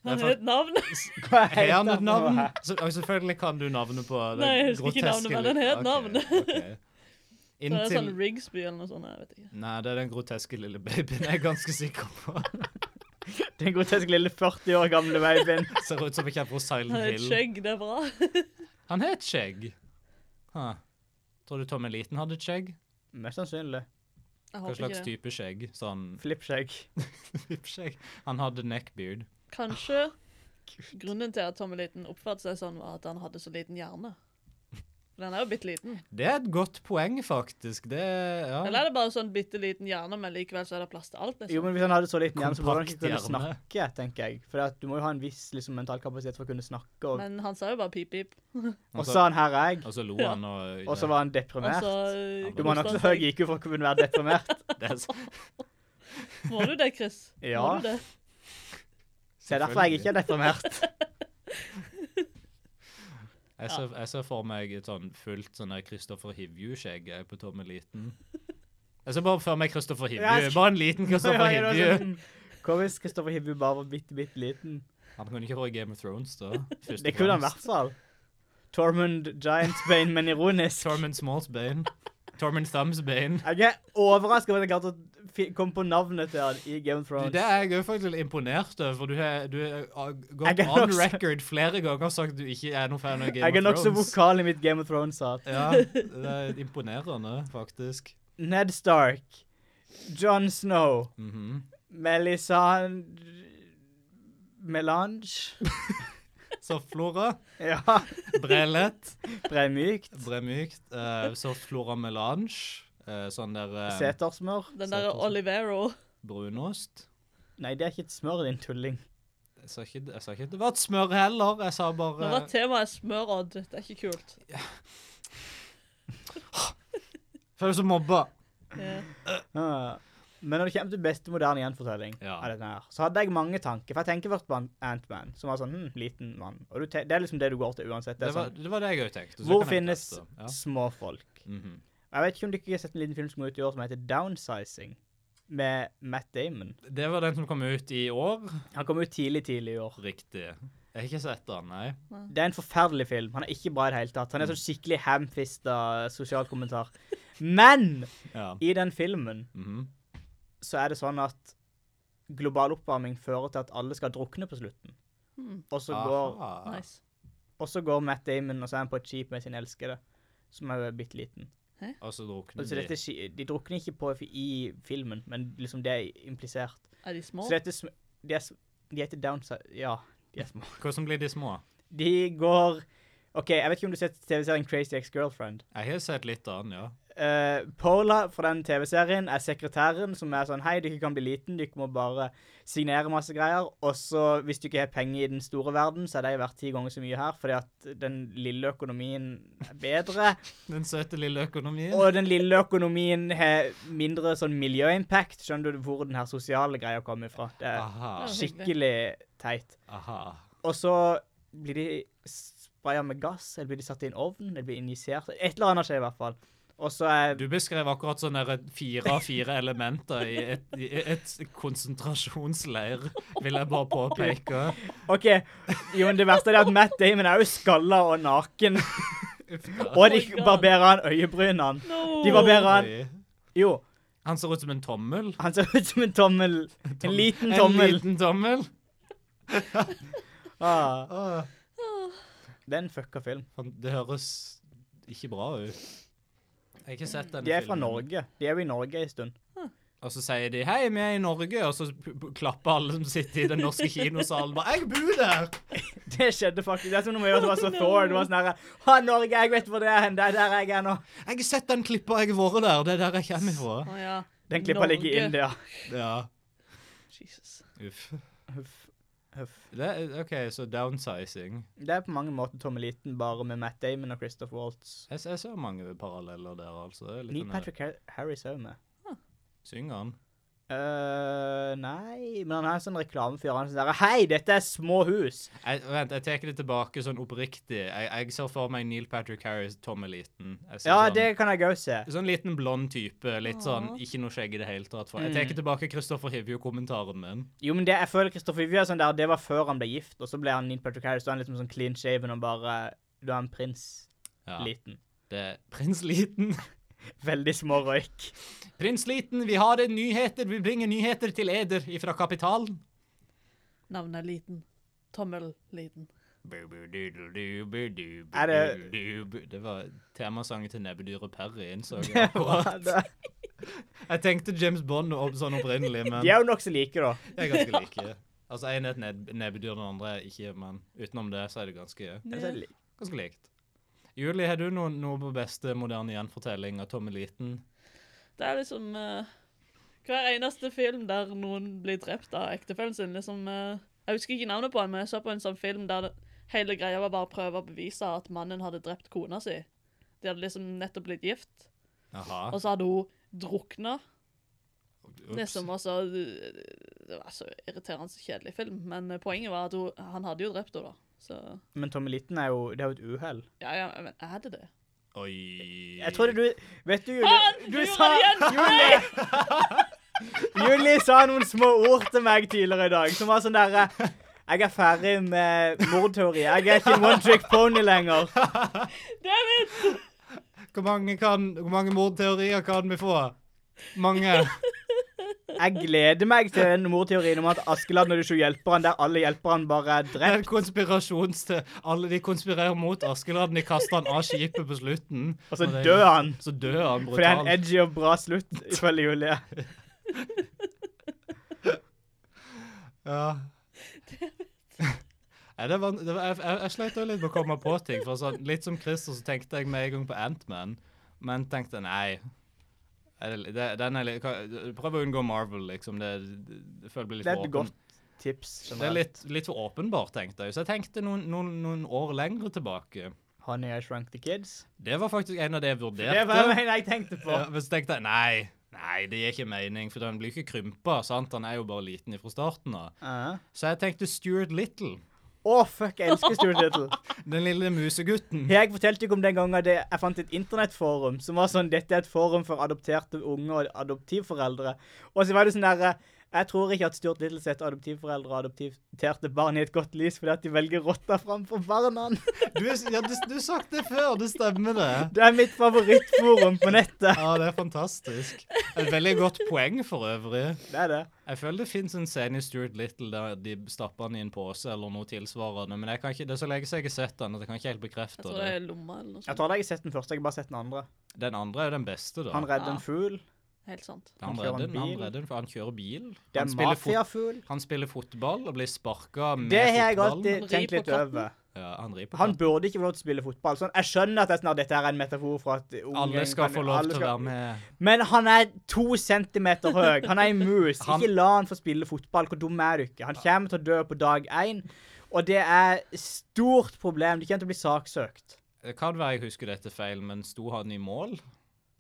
S3: Han
S2: Nei,
S3: har et navn.
S1: Hva
S2: Har han et
S1: for
S2: navn?
S1: noe?
S2: Så, og selvfølgelig kan du navnet på det
S3: Nei, jeg husker ikke navnet, men den het navn.
S2: navnet.
S3: Det er sånn
S2: Inntil
S3: Rigsby eller noe sånt. Jeg vet ikke.
S2: Nei, det er den groteske lille babyen. Jeg er ganske sikker på
S1: Den groteske lille 40 år gamle babyen.
S2: Ser ut som jeg kommer fra
S3: Han
S2: Silent
S3: har et
S2: Hill.
S3: skjegg, det er bra.
S2: Han har et skjegg. Huh. Tror du Tom Eliten hadde et skjegg?
S1: Mest sannsynlig.
S3: Jeg
S2: Hva
S3: håper
S2: slags
S3: ikke det.
S2: type skjegg? Sånn
S1: Flippskjegg.
S2: skjegg? Han hadde neckbeard.
S3: Kanskje
S2: Ah,
S3: grunnen til at Tommeliten oppførte seg sånn, var at han hadde så liten hjerne. For den er jo bitte liten.
S2: Det er et godt poeng, faktisk. Det
S3: Eller
S2: ja.
S3: er det bare sånn bitte liten hjerne, men likevel så er det plass til alt?
S1: Jo,
S3: Liksom.
S1: men Hvis han hadde så liten hjerne, så burde han ikke kunne
S2: Kompakt hjerne.
S1: snakke. tenker jeg. For at du må jo ha en viss liksom, mental kapasitet for å kunne snakke. Og,
S3: Men han sa jo bare pip-pip.
S2: Altså-
S1: og så er han her er jeg,
S2: Og så lo han og
S1: og så var han
S3: Og så
S1: deprimert.
S3: eh,
S2: Du
S1: Du må ha
S3: koste
S1: nokså
S3: han
S1: høy
S3: seg.
S1: IQ for å kunne være deprimert.
S2: Det er så-
S3: Må du det, Chris? Må
S1: Ja.
S3: du det?
S1: Så det er derfor jeg ikke er deprimert.
S2: Jeg ser, jeg ser for meg et sånn fullt sånn der Kristoffer Hivju-skjegg jeg, på Tommeliten. Jeg ser bare for meg Kristoffer
S1: Ja,
S2: Hivju.
S1: jeg sk-
S2: Bare en liten Kristoffer
S1: Ja, det var
S2: Hivju.
S1: sånn- Hva hvis Kristoffer Hivju bare var bitte, bitte liten?
S2: Han kunne ikke vært i Game of Thrones, da. Først og
S1: sånn- Det kunne han i
S2: fremst.
S1: hvert fall. Tormund Giantsbane, men ironisk.
S2: Tormund Smallsbane. Tormund Thumbsbane.
S1: Jeg er overraska over at jeg klarte å fi- komme på navnet til han i Game of
S2: Du,
S1: Thrones.
S2: Det er jeg òg faktisk imponert over, for du har, du har uh,
S1: Jeg
S2: gått
S1: er
S2: on
S1: også-
S2: record flere ganger og sagt at du ikke er noen fan av Game
S1: jeg er
S2: of
S1: nokså
S2: Thrones.
S1: vokal i mitt Game of Thrones-hat.
S2: Ja, det er imponerende, faktisk.
S1: Ned Stark. John Snow.
S2: Mhm.
S1: Melisande Melange?
S2: Så Flora,
S1: Ja.
S2: Brelett,
S1: Bremykt.
S2: Bremykt, eh, så Flora Melange, eh, sånn der eh,
S1: Setersmør.
S3: Den der Olivero.
S2: brunost.
S1: Nei, det er ikke et smør, din tulling.
S2: Jeg sa, ikke, jeg sa ikke at det var et smør heller, jeg sa
S3: Nå var
S2: bare
S3: temaet smørodd. Det er ikke kult.
S2: Føles som mobba.
S3: Ja.
S1: Ah. Men når det kommer til beste moderne gjenfortelling,
S2: Ja.
S1: av denne her, så hadde jeg mange tanker. For jeg tenker først på Ant- Ant-Man, som var sånn hm, liten mann. Og du te det er liksom det du går til uansett. Det
S2: Det
S1: er
S2: var
S1: sånn,
S2: det, var det jeg òg tenkte. så
S1: hvor
S2: kan jeg
S1: finnes
S2: teste. ja.
S1: småfolk?
S2: Mhm.
S1: Jeg vet ikke om dere har sett en liten film som kom ut i år som heter Downsizing, med Matt Damon.
S2: Det var den som kom ut i år.
S1: Han kom ut tidlig, tidlig i år.
S2: Riktig. Jeg har ikke sett den, nei.
S1: Det er en forferdelig film. Han er ikke bra i det hele tatt. Han er sånn skikkelig hamfista sosial kommentar. Men
S2: Ja.
S1: i den filmen
S2: Mhm.
S1: så er det sånn at global oppvarming fører til at alle skal drukne på slutten.
S3: Mm.
S1: Og så går,
S2: Aha.
S3: Nice.
S1: og så går Matt Damon og så er han på et skip med sin elskede, som er bitte liten.
S2: Og så drukner
S1: Altså, dette,
S2: de.
S1: ski- de drukner ikke på i filmen, men liksom det er implisert.
S3: Er de små?
S1: Så dette sm- de, er, sm- de heter Downside Ja, de er små.
S2: Hvordan blir de små?
S1: De går OK, jeg vet ikke om du har sett TV-serien Crazy Ex-Girlfriend.
S2: Jeg har sett litt av den, ja.
S1: Eh, Paula fra den TV-serien er sekretæren som er sånn Hei, dere kan bli liten, dere må bare signere masse greier. Og så, hvis du ikke har penger i den store verden, så er de verdt ti ganger så mye her, fordi at den lille økonomien er bedre.
S2: Den søte lille økonomien.
S1: Og den lille økonomien har mindre sånn miljøimpact. Skjønner du hvor den her sosiale greia kommer ifra? Ah, Det er
S2: Aha.
S1: skikkelig teit.
S2: Aha.
S1: Og så blir de spraya med gass, eller blir de satt i en ovn, eller blir injisert Et eller annet skjer i hvert fall. Og så er
S2: Du beskrev akkurat sånn der fire av fire elementer i et, i et konsentrasjonsleir, vil jeg bare påpeke.
S1: OK. Jo, men det verste er det at Matt Damon er jo skalla og naken.
S2: Uff da.
S1: Og de
S3: Oh my God.
S1: barberer han øyebrynene.
S3: No!
S1: De var bedre.
S2: Oi.
S1: Jo,
S2: Han ser ut som en tommel.
S1: han ser ut som en tommel. En
S2: Tom-
S1: liten tommel.
S2: En liten tommel.
S1: Ah,
S2: Åh,
S1: det er en fucka film.
S2: han- Det høres ikke bra ut. Jeg har ikke sett denne
S1: De er fra
S2: filmen.
S1: Norge. De er jo i Norge en stund.
S2: Og så sier de 'hei, vi er i Norge', og så p- p- klapper alle som sitter i den norske kinosalen bare 'jeg bor der'!
S1: Det skjedde faktisk. Det er som når vi gjør det var så
S3: Oh, no.
S1: Thor. Det var sånn herre Ha, Norge, jeg vet hvor det er hen. Det er der jeg er nå.
S2: Jeg har sett den klippa, jeg har vært der. Det er der jeg kommer fra.
S3: Å ja.
S1: Den klippa ligger i
S3: Norge.
S1: India.
S2: Ja.
S3: Jesus.
S2: Uff.
S1: Huff. Huff.
S2: Det, er- OK, så downsizing.
S1: Det er på mange måter Tommeliten, bare med Matt Damon og Christopher Waltz.
S2: Jeg, jeg ser mange paralleller der, altså. Det er Litt
S1: Neil
S3: sånn
S2: den der-
S1: Patrick Har- Harris er jo med.
S2: Synger han?
S1: Eh, nei, men han er en sånn reklamefyr. Han er sånn der, Hei, dette er små hus!
S2: Jeg, vent, jeg tar det tilbake sånn oppriktig. Jeg, jeg ser for meg Neil Patrick Harris, tommeliten. Jeg ser
S1: Ja,
S2: sånn-
S1: det kan jeg òg se.
S2: Sånn liten blond type. Litt sånn
S3: Åh.
S2: ikke noe skjegg i det hele tatt. For. Jeg tar
S1: Mm.
S2: tilbake Kristoffer Hivju-kommentaren min.
S1: Jo, men det, jeg føler Christopher Ivy er sånn der, det var før han ble gift, og så ble han Neil Patrick Harris. Da er han liksom sånn clean shaven og bare Du er en prins.
S2: Ja,
S1: Liten.
S2: det, prins Liten.
S1: Veldig små røyk.
S2: Prins Liten, vi har en nyheter. Vi bringer nyheter til eder ifra kapitalen.
S3: Navnet er liten. Tommel liten.
S1: Er
S2: Det var temasangen til nebbedyret Perry, innså jeg. akkurat. Jeg tenkte James Bond opp sånn opprinnelig, men
S1: De er jo nokså like, da.
S2: jeg er ganske like. Altså, en er et neb nebbedyr, den andre er ikke, men utenom det så er det ganske,
S1: Jeg ser li-
S2: ganske likt. Julie, har du noe, noe på beste moderne gjenfortelling av Tommy Liten?
S3: Det er liksom eh, Hver eneste film der noen blir drept av ektefellen sin, liksom eh, Jeg husker ikke navnet på den, men jeg så på en sånn film der det, hele greia var bare å prøve å bevise at mannen hadde drept kona si. De hadde liksom nettopp blitt gift,
S2: Aha.
S3: og så hadde hun drukna.
S2: Ah. Ups.
S3: Liksom, og så Det var så irriterende så kjedelig film, men eh, poenget var at hun, han hadde jo drept henne, da. Så
S1: Men Tommeliten er jo Det er jo et uhell.
S3: Ja, ja, men er det det?
S2: Oi.
S1: Jeg trodde du Vet du,
S3: Faen,
S1: Julie
S3: du gjorde
S1: sa
S3: det igjen!
S1: Julie! Julie sa noen små ord til meg tidligere i dag som var sånn derre Jeg er ferdig med mordteori. Jeg er ikke en one trick pony lenger.
S3: Damn it!
S2: Hvor mange, kan, hvor mange mordteorier kan vi få? Mange.
S1: Jeg gleder meg til den mordteorien om at Askeladden og de sju hjelperne, der alle hjelperne bare er
S2: Det er en
S1: drept,
S2: konspirasjons til Alle de konspirerer mot Askeladden. De kaster han av skipet på slutten.
S1: og så
S2: det-
S1: dør han.
S2: Så dør han
S1: For det er en
S2: brutalt.
S1: edgy og bra slutt, ifølge Julie.
S2: Ja. Nei, det var, det var, jeg, jeg, jeg sleit også litt med å komme på ting. For sånn, litt som Christer så tenkte jeg med en gang på Ant-Man, men tenkte nei. Er det, det, den er litt, hva- prøv å unngå Marvel, liksom. Det, det, det føler jeg blir litt
S1: Det er
S2: for
S1: et
S2: åpen.
S1: godt tips.
S2: Det er litt, litt for åpenbart, tenkte jeg. Så jeg tenkte noen, noen, noen år lengre tilbake.
S1: Honey, I Shrunk the Kids.
S2: Det var faktisk en av det jeg vurderte.
S1: Det var en jeg tenkte på.
S2: Ja, men så tenkte jeg nei, nei, det gir ikke mening, for han blir ikke krympa. sant? Han er jo bare liten fra starten av.
S1: Ja.
S2: Så jeg tenkte Stuart Little.
S1: Å, fuck, jeg elsker Stuart Little.
S2: Den lille musegutten.
S1: Jeg fortalte ikke om den gangen det, jeg fant et internettforum som var sånn Dette er et forum for adopterte unge og adoptivforeldre. Og så var det sånn derre Jeg tror ikke at Stuart Little setter adoptivforeldre og adopterte barn i et godt lys fordi at de velger rotta framfor barna.
S2: Du, er- ja, du, du sagt det før, det stemmer det.
S1: Det er mitt favorittforum på nettet.
S2: Ja, det er fantastisk. Et veldig godt poeng for øvrig.
S1: Det er det.
S2: Jeg føler det fins en scene i Stuart Little der de stapper han i en pose eller noe tilsvarende, men jeg kan ikke, det er så lenge siden jeg har sett han, at jeg kan ikke helt
S3: Jeg
S2: bekrefte
S3: tror det
S2: det.
S3: er lomma eller noe
S1: Jeg
S3: sånt.
S1: tror jeg har sett den første, jeg har bare sett den andre.
S2: Den andre er jo den beste, da.
S1: Han redder en
S3: Ja.
S1: fugl.
S3: Helt sant.
S2: Han
S1: han kjører
S2: redder
S1: en
S2: den, han
S1: bil.
S2: redder den, for han kjører bil.
S1: Det
S2: Han
S1: er
S2: spiller fot-
S1: mafiafugl.
S2: Han spiller fotball og blir sparka med
S1: Det har jeg
S2: fotballen.
S1: alltid
S3: Han rir
S1: tenkt
S3: på
S1: litt
S3: katten.
S1: over.
S2: Ja, han rir på
S1: Han
S2: katt.
S1: burde ikke få lov til å spille fotball. Sånn, jeg skjønner at det er sånn at dette her er en metafor for at ungen
S2: Alle skal
S1: kan-
S2: få lov
S1: alle
S2: til å
S1: skal-
S2: være med.
S1: Men han er to centimeter høy. Han er en mus.
S2: Han-
S1: Ikke la han få spille fotball. Hvor dum er du ikke? Han kommer til å dø på dag én, og det er stort problem. De kommer til å bli saksøkt.
S2: Det kan være jeg husker dette feil, men sto han i mål?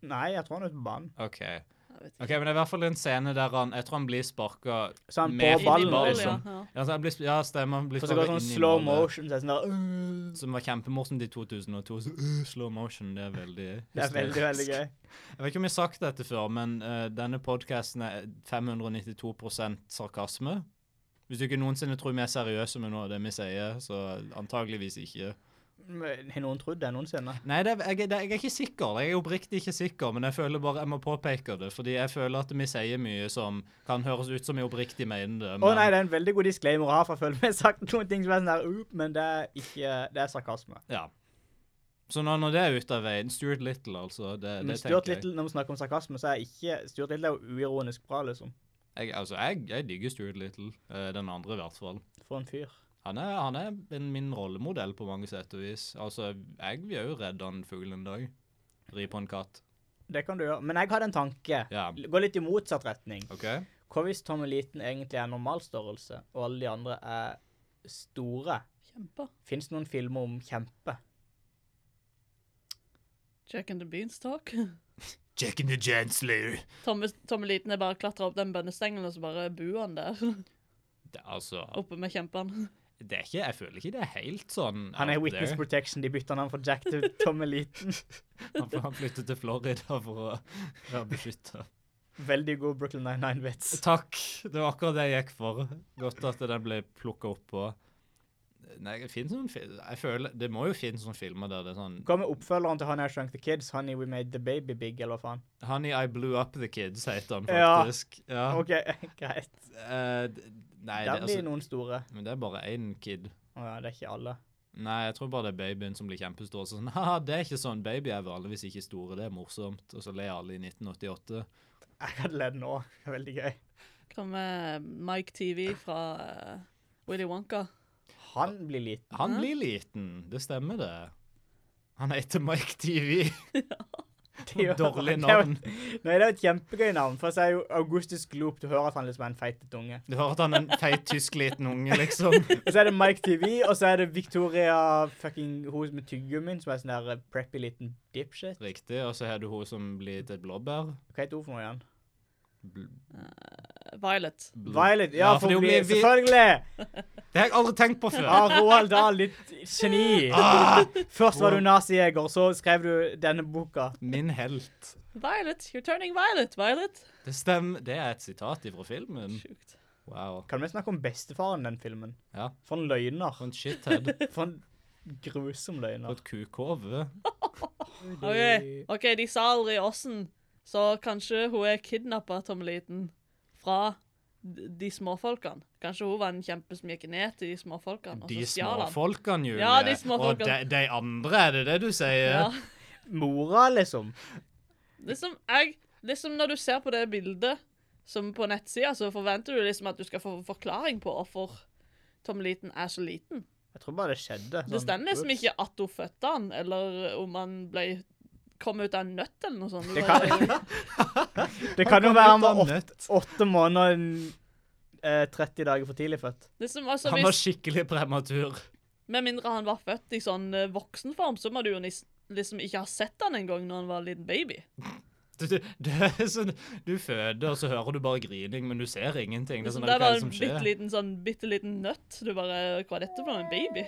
S1: Nei, jeg tror han er ute på banen.
S2: OK.
S3: Jeg vet ikke.
S2: Ok, Men det er i hvert fall en scene der han Jeg tror han blir sparka
S1: Så han på
S2: Med
S3: Inn i
S1: ballen,
S3: ball,
S1: liksom.
S3: Ja,
S2: ja, så han blir, ja, stemmer. Han blir
S1: For så går
S2: sparket
S1: det sånn
S2: inn i
S1: slow
S2: målet,
S1: motion, så er det sånn der øh.
S2: Som var kjempemorsomt i 2002. Så, uh, slow motion, det er veldig
S1: Det er veldig, veldig gøy.
S2: Jeg vet ikke om jeg har sagt dette før, men eh, denne podkasten er 592 sarkasme. Hvis du ikke noensinne tror vi er seriøse med noe av det vi sier, så antageligvis ikke.
S1: Men Har noen trodd det noensinne?
S2: Nei, det, er- jeg, er- det, jeg er ikke sikker. Jeg er oppriktig ikke sikker, men jeg føler bare jeg må påpeke det. Fordi jeg føler at vi sier mye som kan høres ut som vi oppriktig mener det.
S1: Å nei, det er en veldig god disclaimer å ha, for jeg føler vi har sagt noen ting som er sånn der oop, men det er ikke Det er sarkasme.
S2: Ja. Så når, når det er ute av veien Stuart Little, altså. Det,
S1: Men
S2: det
S1: Stuart
S2: tenker jeg.
S1: Little, når vi snakker om sarkasme, så er ikke Stuart Little er jo uironisk bra, liksom.
S2: jeg. Altså, jeg, jeg digger Stuart Little. eh, den andre, i hvert fall.
S1: For en fyr.
S2: Han er, han er en, min rollemodell på mange sett og vis. Altså, jeg vil jo redde en fugl en dag. Ri på en katt.
S1: Det kan du gjøre. Men jeg hadde en tanke.
S2: Ja,
S1: Gå litt i motsatt retning.
S2: OK?
S1: Hva hvis Tom Eliten egentlig er normalstørrelse, og alle de andre er store?
S3: ja. Kjempe.
S1: Fins det noen filmer om kjempe?
S3: Jack and the Beans Talk.
S2: Jack and the Janslayer.
S3: Tomme, Tomme Liten er bare klatra opp den bønnestengen, og så bare buer han der.
S2: Det, altså,
S3: Oppe med kjempene.
S2: det er ikke, jeg føler ikke det er helt sånn
S1: Han er
S2: out
S1: Witness
S2: there.
S1: Protection. De bytter navn fra Jack til Tom Eliten.
S2: Han, han flyttet til Florida for å være beskytta.
S1: Veldig god Brooklyn Nine-Nine-vits.
S2: Takk. Det var akkurat det jeg gikk for. Godt at den ble plukka opp på. Nei, det finnes noen fil- jeg føler, Det må jo finnes noen filmer der det er sånn
S1: Hva med oppfølgeren til Honey I Shrunk the Kids? Honey We Made The Baby Big, eller hva faen?
S2: Honey, I Blew Up The Kids heter han
S1: Ja.
S2: faktisk. Ja.
S1: OK, greit.
S2: Eh, d- nei,
S1: Der
S2: det,
S1: blir
S2: altså,
S1: noen store.
S2: men det er bare én kid.
S1: Å ja, det er ikke alle.
S2: Nei, jeg tror bare det er babyen som blir kjempestor. Så sånn, haha, det er ikke sånn. Baby er vanligvis ikke store, det er morsomt. Og så ler alle i 1988.
S1: Jeg kan ledd nå. Det er veldig gøy.
S3: Hva med Mike TV fra eh, Willy Wonka?
S1: Han blir liten.
S2: Han
S3: Hæ?
S2: blir liten, det stemmer det. Han heter Mike TV.
S1: Det gjør
S2: Dårlig
S1: han. Det er jo-
S2: navn.
S1: Nei, det er jo et kjempegøy navn. For så er jo Augustus Gloop. Du hører at han liksom er en feitet unge.
S2: Du hører at han er en feit tysk liten unge, liksom.
S1: Og så er det Mike TV, og så er det Victoria fucking hun med tyggegummien, som er sånn der eh, preppy liten dipshit.
S2: Riktig. Og så har du hun som blir til et blåbær.
S1: Hva heter hun for noe igjen?
S2: Bl
S3: Eh, Violet.
S2: bl
S1: Violet. Ja,
S2: Ja, for
S1: for hun
S2: hun
S1: blir
S2: blir hvit.
S1: Selvfølgelig!
S2: Det har jeg aldri tenkt på før.
S1: Ja, Roald Dahl, ditt geni. Ah. Først var du nazijeger, så skrev du denne boka.
S2: Min helt.
S3: Violet, you're turning violet, Violet.
S2: Det stemmer. Det er et sitat ifra filmen.
S3: Sjukt.
S2: Wow.
S1: Kan vi snakke om bestefaren i den filmen?
S2: Ja.
S1: For en løgner.
S2: For en Sånn shithead.
S1: For en grusom løgner.
S2: For et kukhove.
S3: OK, ok, de sa aldri åssen, så kanskje hun er kidnappa, Tom Liten, fra d- de småfolkene. Kanskje hun var en kjempe som gikk ned til de småfolkene, og
S2: De
S3: så stjal han.
S2: småfolkene, Julie.
S3: Ja, de
S2: og
S3: småfolkene.
S2: de, de andre, er det det du
S3: Ja.
S2: sier?
S1: Mora, liksom.
S3: Liksom, jeg, liksom når du ser på det bildet som på nettsida, så forventer du liksom at du skal få forklaring på hvorfor Tom Liten er så liten.
S1: Jeg tror bare det skjedde.
S3: Det
S1: sånn,
S3: står liksom
S1: ups.
S3: ikke at hun fødte han, eller om han ble kom ut av en nøtt eller noe sånt.
S1: Det
S3: bare-
S1: Det kan jo være han var åtte,
S2: nøtt.
S1: åtte måneder og eh, 30 dager for tidlig født.
S3: Liksom, altså,
S2: Han var
S3: hvis,
S2: skikkelig prematur.
S3: med mindre han var født i sånn eh, voksenform, så må du jo nis- liksom ikke ha sett han engang når han var en liten baby.
S2: Du, du, det er sånn, du føder, og så hører du bare grining, men du ser ingenting. Det er
S3: Liksom,
S2: sånn, hva er
S3: det var
S2: det
S3: en
S2: som
S3: bitte
S2: skjer?
S3: liten, sånn, bitte liten nøtt. Du bare Hva er dette for noe? En baby?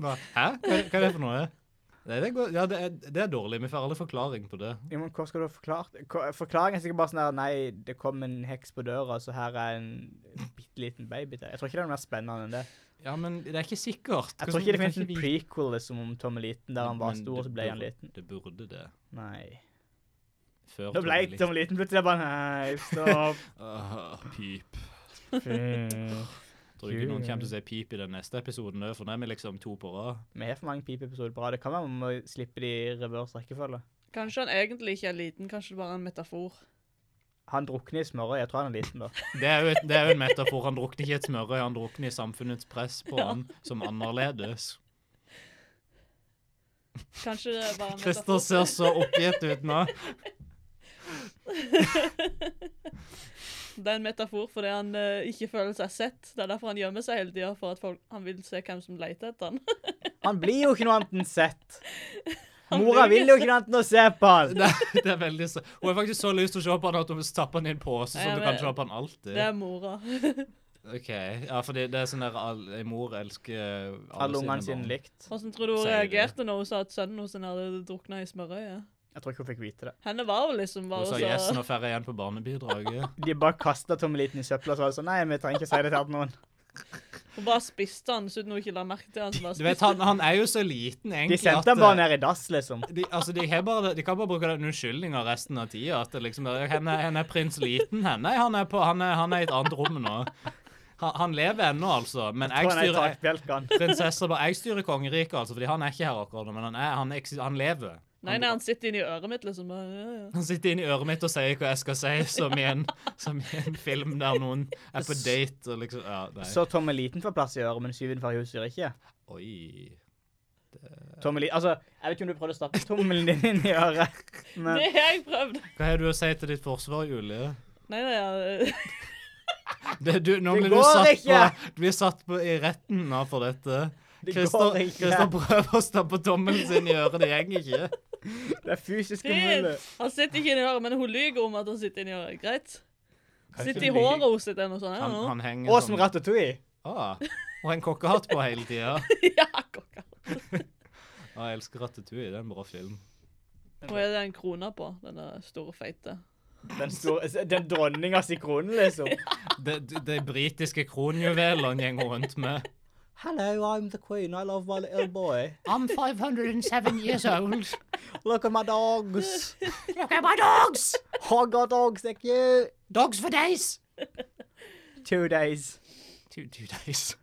S2: Hva- Hæ? Hva, hva er det for noe? Nei, det, går, ja, det, er, det er dårlig. Vi får aldri forklaring på det.
S1: Ja, men hva skal du ha forklart? Hva- Forklaringen er sikkert bare sånn her Nei, det kom en heks på døra, så her er en bitte liten baby til. Jeg tror ikke det er noe mer spennende enn det.
S2: Ja, men det er ikke sikkert.
S1: Jeg
S2: Hvordan-
S1: tror ikke det
S2: kan
S1: finnes en
S2: vi-
S1: prequel liksom, om Tom er liten, der han var
S2: Men
S1: stor, og
S2: det
S1: så ble han
S2: burde-
S1: liten.
S2: Det burde det.
S1: Nei.
S2: Før
S1: Da ble
S2: Tommy
S1: Tom liten plutselig. Jeg bare Nei, stopp.
S2: Ah, pip.
S1: Mm.
S2: Tror ikke noen kommer til å si pip i den neste episoden, det, for nå er vi liksom to på rad.
S1: Vi har for mange pipeepisoder på rad. Det kan være vi må slippe de i reverse rekkefølge.
S3: Kanskje han egentlig ikke er liten, kanskje det bare er en metafor.
S1: Han drukner i smørøy. Jeg tror han er liten, da.
S2: Det er jo, et, det er jo en metafor. Han drukner ikke i et smørøy, han drukner i samfunnets press på han som annerledes.
S3: Kanskje det er bare en
S2: Christer
S3: metafor.
S2: ser så oppgitt ut nå.
S3: Det er en metafor fordi han eh, ikke føler seg sett. Det er derfor han gjemmer seg hele tida, for at folk, han vil se hvem som leter etter han.
S1: Han blir jo ikke noe annet enn sett.
S3: Han
S1: Mora
S3: blir
S1: vil jo ikke noe annet enn å se på han.
S2: Det, det er veldig så. Hun har faktisk så lyst til å se på han at hun stapper han i en påse,
S3: Ja,
S2: som du
S3: men-
S2: kan se på han
S3: Det
S2: alltid.
S3: er mora.
S2: Ok, Ja, fordi det er sånn der all, en mor elsker alle,
S1: Alle ungene sine
S2: barn.
S1: likt.
S3: Hvordan tror du hun
S2: Sier de det?
S3: reagerte når hun sa at sønnen hennes hadde drukna i smørøyet?
S1: Jeg tror ikke hun fikk vite det.
S3: Henne var jo liksom
S2: Hun
S3: bare
S2: sa
S3: så
S2: yes, nå får jeg igjen på barnebidraget.
S1: De bare kasta Tom liten i søpla og så var det sånn Nei, vi trenger ikke å si det til noen.
S3: Hun bare spiste han, så hun ikke la merke til han. Så bare
S2: Du vet,
S3: spiste.
S2: han, han er jo så liten,
S1: De
S2: egentlig.
S1: sendte
S2: at- eh,
S1: han bare ned i dass, liksom.
S2: de, altså, de, har bare, de kan bare bruke den unnskyldninga resten av tida. At det liksom, er, henne, henne er prins liten, henne. Nei, han er, på, han er, han er i et annet rom nå. Han, han lever ennå, altså. Men
S1: Tror han er
S2: jeg
S1: i
S2: styrer,
S1: takbjelken.
S2: prinsesser bare, jeg styrer kongeriket, altså, fordi han er ikke her akkurat nå. Men han, er, han, eks- han lever.
S3: Nei, nei, han sitter inni øret mitt, liksom. Bare, ja, ja.
S2: Han sitter inni øret mitt og sier hva jeg skal si, som i en, som i en film der noen er på date og liksom ja, nei.
S1: Så Tom er liten får plass i øret, men syvende far i huset gjør ikke.
S2: Oi.
S1: Tom er li altså, jeg vet ikke om du prøvde å stappe tommelen din inn i øret, men
S3: Det har jeg prøvd.
S2: Hva har du å si til ditt forsvar, Julie?
S3: Nei, nei, ja.
S2: Det, du, nå
S1: Det
S2: blir du
S1: går
S2: satt
S1: ikke!
S2: på, du blir satt på i retten nå for dette.
S1: det
S2: Christer,
S1: går ikke.
S2: Christer prøver å stappe tommelen sin i øret, det går ikke.
S1: Det er fysisk umulig.
S3: Det- Han sitter ikke inni øret, men hun lyver om at han sitter inni øret. Greit. Sitter i
S1: hun
S3: håret hos sitt eller noe sånt.
S2: Han,
S3: Han,
S2: han henger sånn.
S1: Og som ratatouille.
S2: Ah, og en kokkehatt på hele tida.
S3: ja, kokka.
S2: Ah, jeg elsker Ratatouille, det er en bra film.
S3: Hva er det en krone på? Denne store, feite.
S1: Den, store, den dronninga si krone, liksom.
S2: De, de, de britiske kronjuvelene går rundt med.
S1: Hello, I'm the queen. I love my little boy.
S2: I'm 507 years old.
S1: Look at my dogs.
S2: Look at my dogs!
S1: Hog got dogs, thank you.
S2: Dogs for days!
S1: Two days.
S2: Two, two days.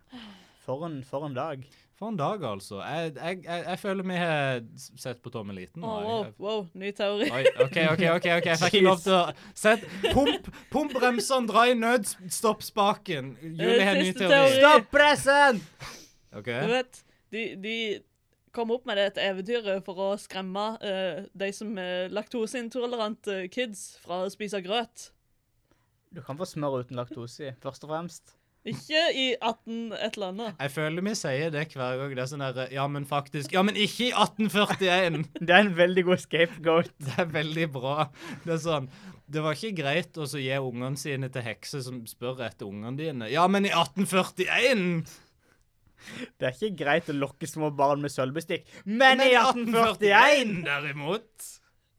S1: For en, for en dag.
S2: For en dag, altså. Jeg, jeg, jeg, jeg føler vi har sett på Tommy Liten.
S3: Å,
S2: nå.
S3: wow,
S2: Jeg-
S3: wow, ny teori.
S2: Oi, OK, OK. ok, ok, Jeg fikk ikke lov til å Sett Pump, pump bremsene, dra i nødstoppspaken. Julie har en ny
S3: Siste
S2: teori.
S3: teori.
S1: Stopp pressen!
S2: OK.
S3: Du vet, de, de kom opp med dette eventyret for å skremme eh, de som er laktoseintolerante eh, kids fra å spise grøt.
S1: Du kan få smør uten laktose i, først og fremst.
S3: Ikke i 18 et eller annet.
S2: Jeg føler vi sier det hver gang. Det er sånn derre Ja, men faktisk Ja, men ikke i 1841!
S1: Det er en veldig god scapegoat.
S2: Det er veldig bra. Det er sånn Det var ikke greit å så gi ungene sine til hekser som spør etter ungene dine. Ja, men i 1841!
S1: Det er ikke greit å lokke små barn med sølvbestikk, men i 1841!
S2: derimot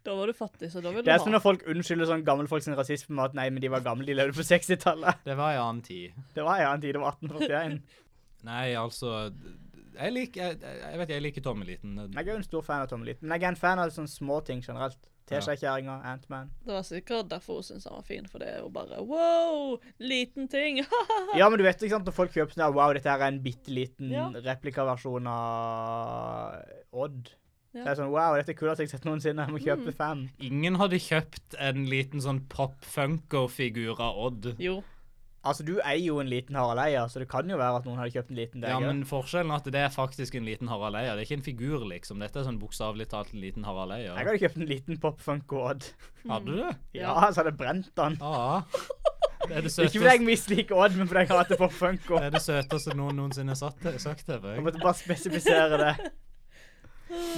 S3: Da var du fattig, så da ville
S1: Det er
S3: du
S1: som
S3: ha.
S1: når folk unnskylder sånn gammelfolk sin rasisme med at nei, men de var gamle, de levde på 60-tallet.
S2: Det var i annen tid.
S1: Det var en annen tid, det var 1841.
S2: Nei, altså Jeg, lik, jeg, jeg vet jeg liker Tommeliten.
S1: Jeg er jo en stor fan av Tom Liten, men jeg er en fan av sånne små ting generelt.
S2: Ja.
S1: Teskjekjerringer, Antman.
S3: Det var sikkert derfor hun syntes han var fin, for det er jo bare wow, liten ting.
S1: Ja, men du vet ikke sant, når folk kjøper sånn der, wow, dette her er en bitte liten
S3: Ja.
S1: replikaversjon av Odd. Så
S3: Ja.
S1: er det sånn, wow, dette er kulest jeg har sett noensinne, jeg må kjøpe fem.
S2: Ingen hadde kjøpt en liten sånn pop-funker-figur av Odd.
S3: jo.
S1: Altså, du eier jo en liten Harald Eia, så det kan jo være at noen hadde kjøpt en liten deg.
S2: Ja, men forskjellen er at det er faktisk en liten Harald Eia. Det er ikke en figur, liksom. Dette er sånn bokstavelig talt en liten Harald
S1: Jeg
S2: Eia.
S1: hadde kjøpt en liten popfunko Odd.
S2: Hadde du det?
S1: Ja,
S3: Ja.
S1: så hadde jeg brent den.
S2: Ja. Det er
S1: Ikke
S2: det
S1: fordi
S2: søteste,
S1: jeg misliker Odd, men fordi jeg hater popfunko.
S2: det er det søteste noen noensinne har sagt det- sagt til
S1: Jeg
S2: meg.
S1: måtte bare spesifisere det.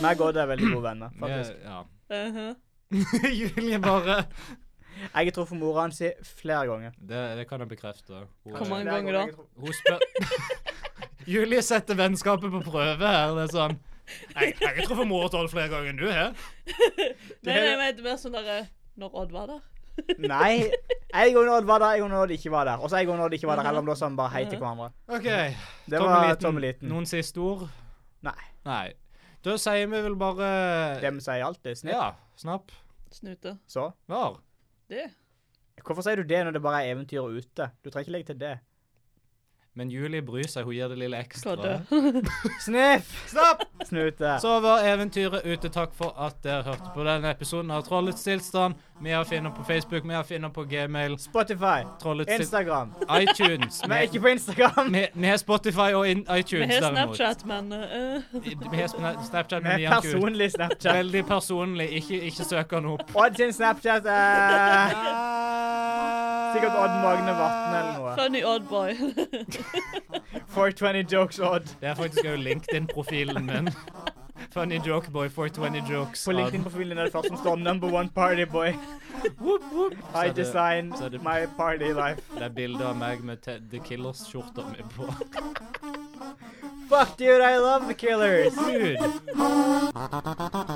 S1: Meg og Odd er veldig gode venner, faktisk.
S2: Jeg- Ja.
S3: Uh-huh.
S2: Julie bare
S1: Jeg har truffet mora hans i flere ganger.
S2: det, det kan jeg bekrefte. Hun,
S3: Hvor mange
S1: Flere jeg
S3: ganger da?
S1: har truffet-
S2: hun spør Julie setter vennskapet på prøve her. Det er sånn Jeg, jeg har truffet mora til flere ganger enn du har.
S3: Nei, nei, men det er mer sånn derre Når Odd var der.
S1: Nei. En gang Odd var der, en gang Odd ikke var der. Og så en gang Odd ikke var der, heller om da sa vi bare hei til hverandre.
S2: OK.
S1: Det var tommeliten.
S2: Noen siste ord?
S1: Nei.
S2: Nei. Da sier vi vel bare
S1: Det vi sier alltid, snipp.
S2: Ja. Snapp.
S3: Snute.
S1: Så.
S2: Var.
S3: Det.
S1: Hvorfor sier du det når det bare er eventyr ute? Du trenger ikke legge til det.
S2: Men Julie bryr seg. Hun gir det lille ekstra.
S3: Kødde.
S1: Sniff!
S2: Snapp!
S1: Snute.
S2: Så var eventyret ute. Takk for at dere hørte på denne episoden av Trollets tilstand. Vi har finner på Facebook, vi har finner på Gmail,
S1: Spotify.
S2: Trollets tilstand
S1: Instagram.
S2: iTunes.
S1: Men
S2: Vi,
S1: ikke på Instagram.
S2: vi, vi har Spotify og in
S3: Vi
S2: iTunes,
S3: har
S2: derimot.
S3: Snapchat, men eh,
S2: Vi har sna- Snapchat, men
S1: Med
S2: vi har ikke ut.
S1: personlig Snapchat.
S2: Veldig personlig. Ikke, ikke søk han opp.
S1: Odd sin Snapchat er sikkert Odd Magne Vatne eller noe.
S3: Funny Odd Boy.
S1: 420 jokes Odd.
S2: Det er faktisk òg LinkedIn-profilen min. Funny joke boy, 420 jokes.
S1: På LinkedIn-profilen er det først som står 'Number one party boy'.
S2: Whoop, whoop. Så
S1: I
S2: er det-
S1: design
S2: så er det-
S1: my party life.
S2: Det er bilder av meg med Ted The Killers-skjorta mi på.
S1: Fuck dude, I love the killers.
S2: Gud!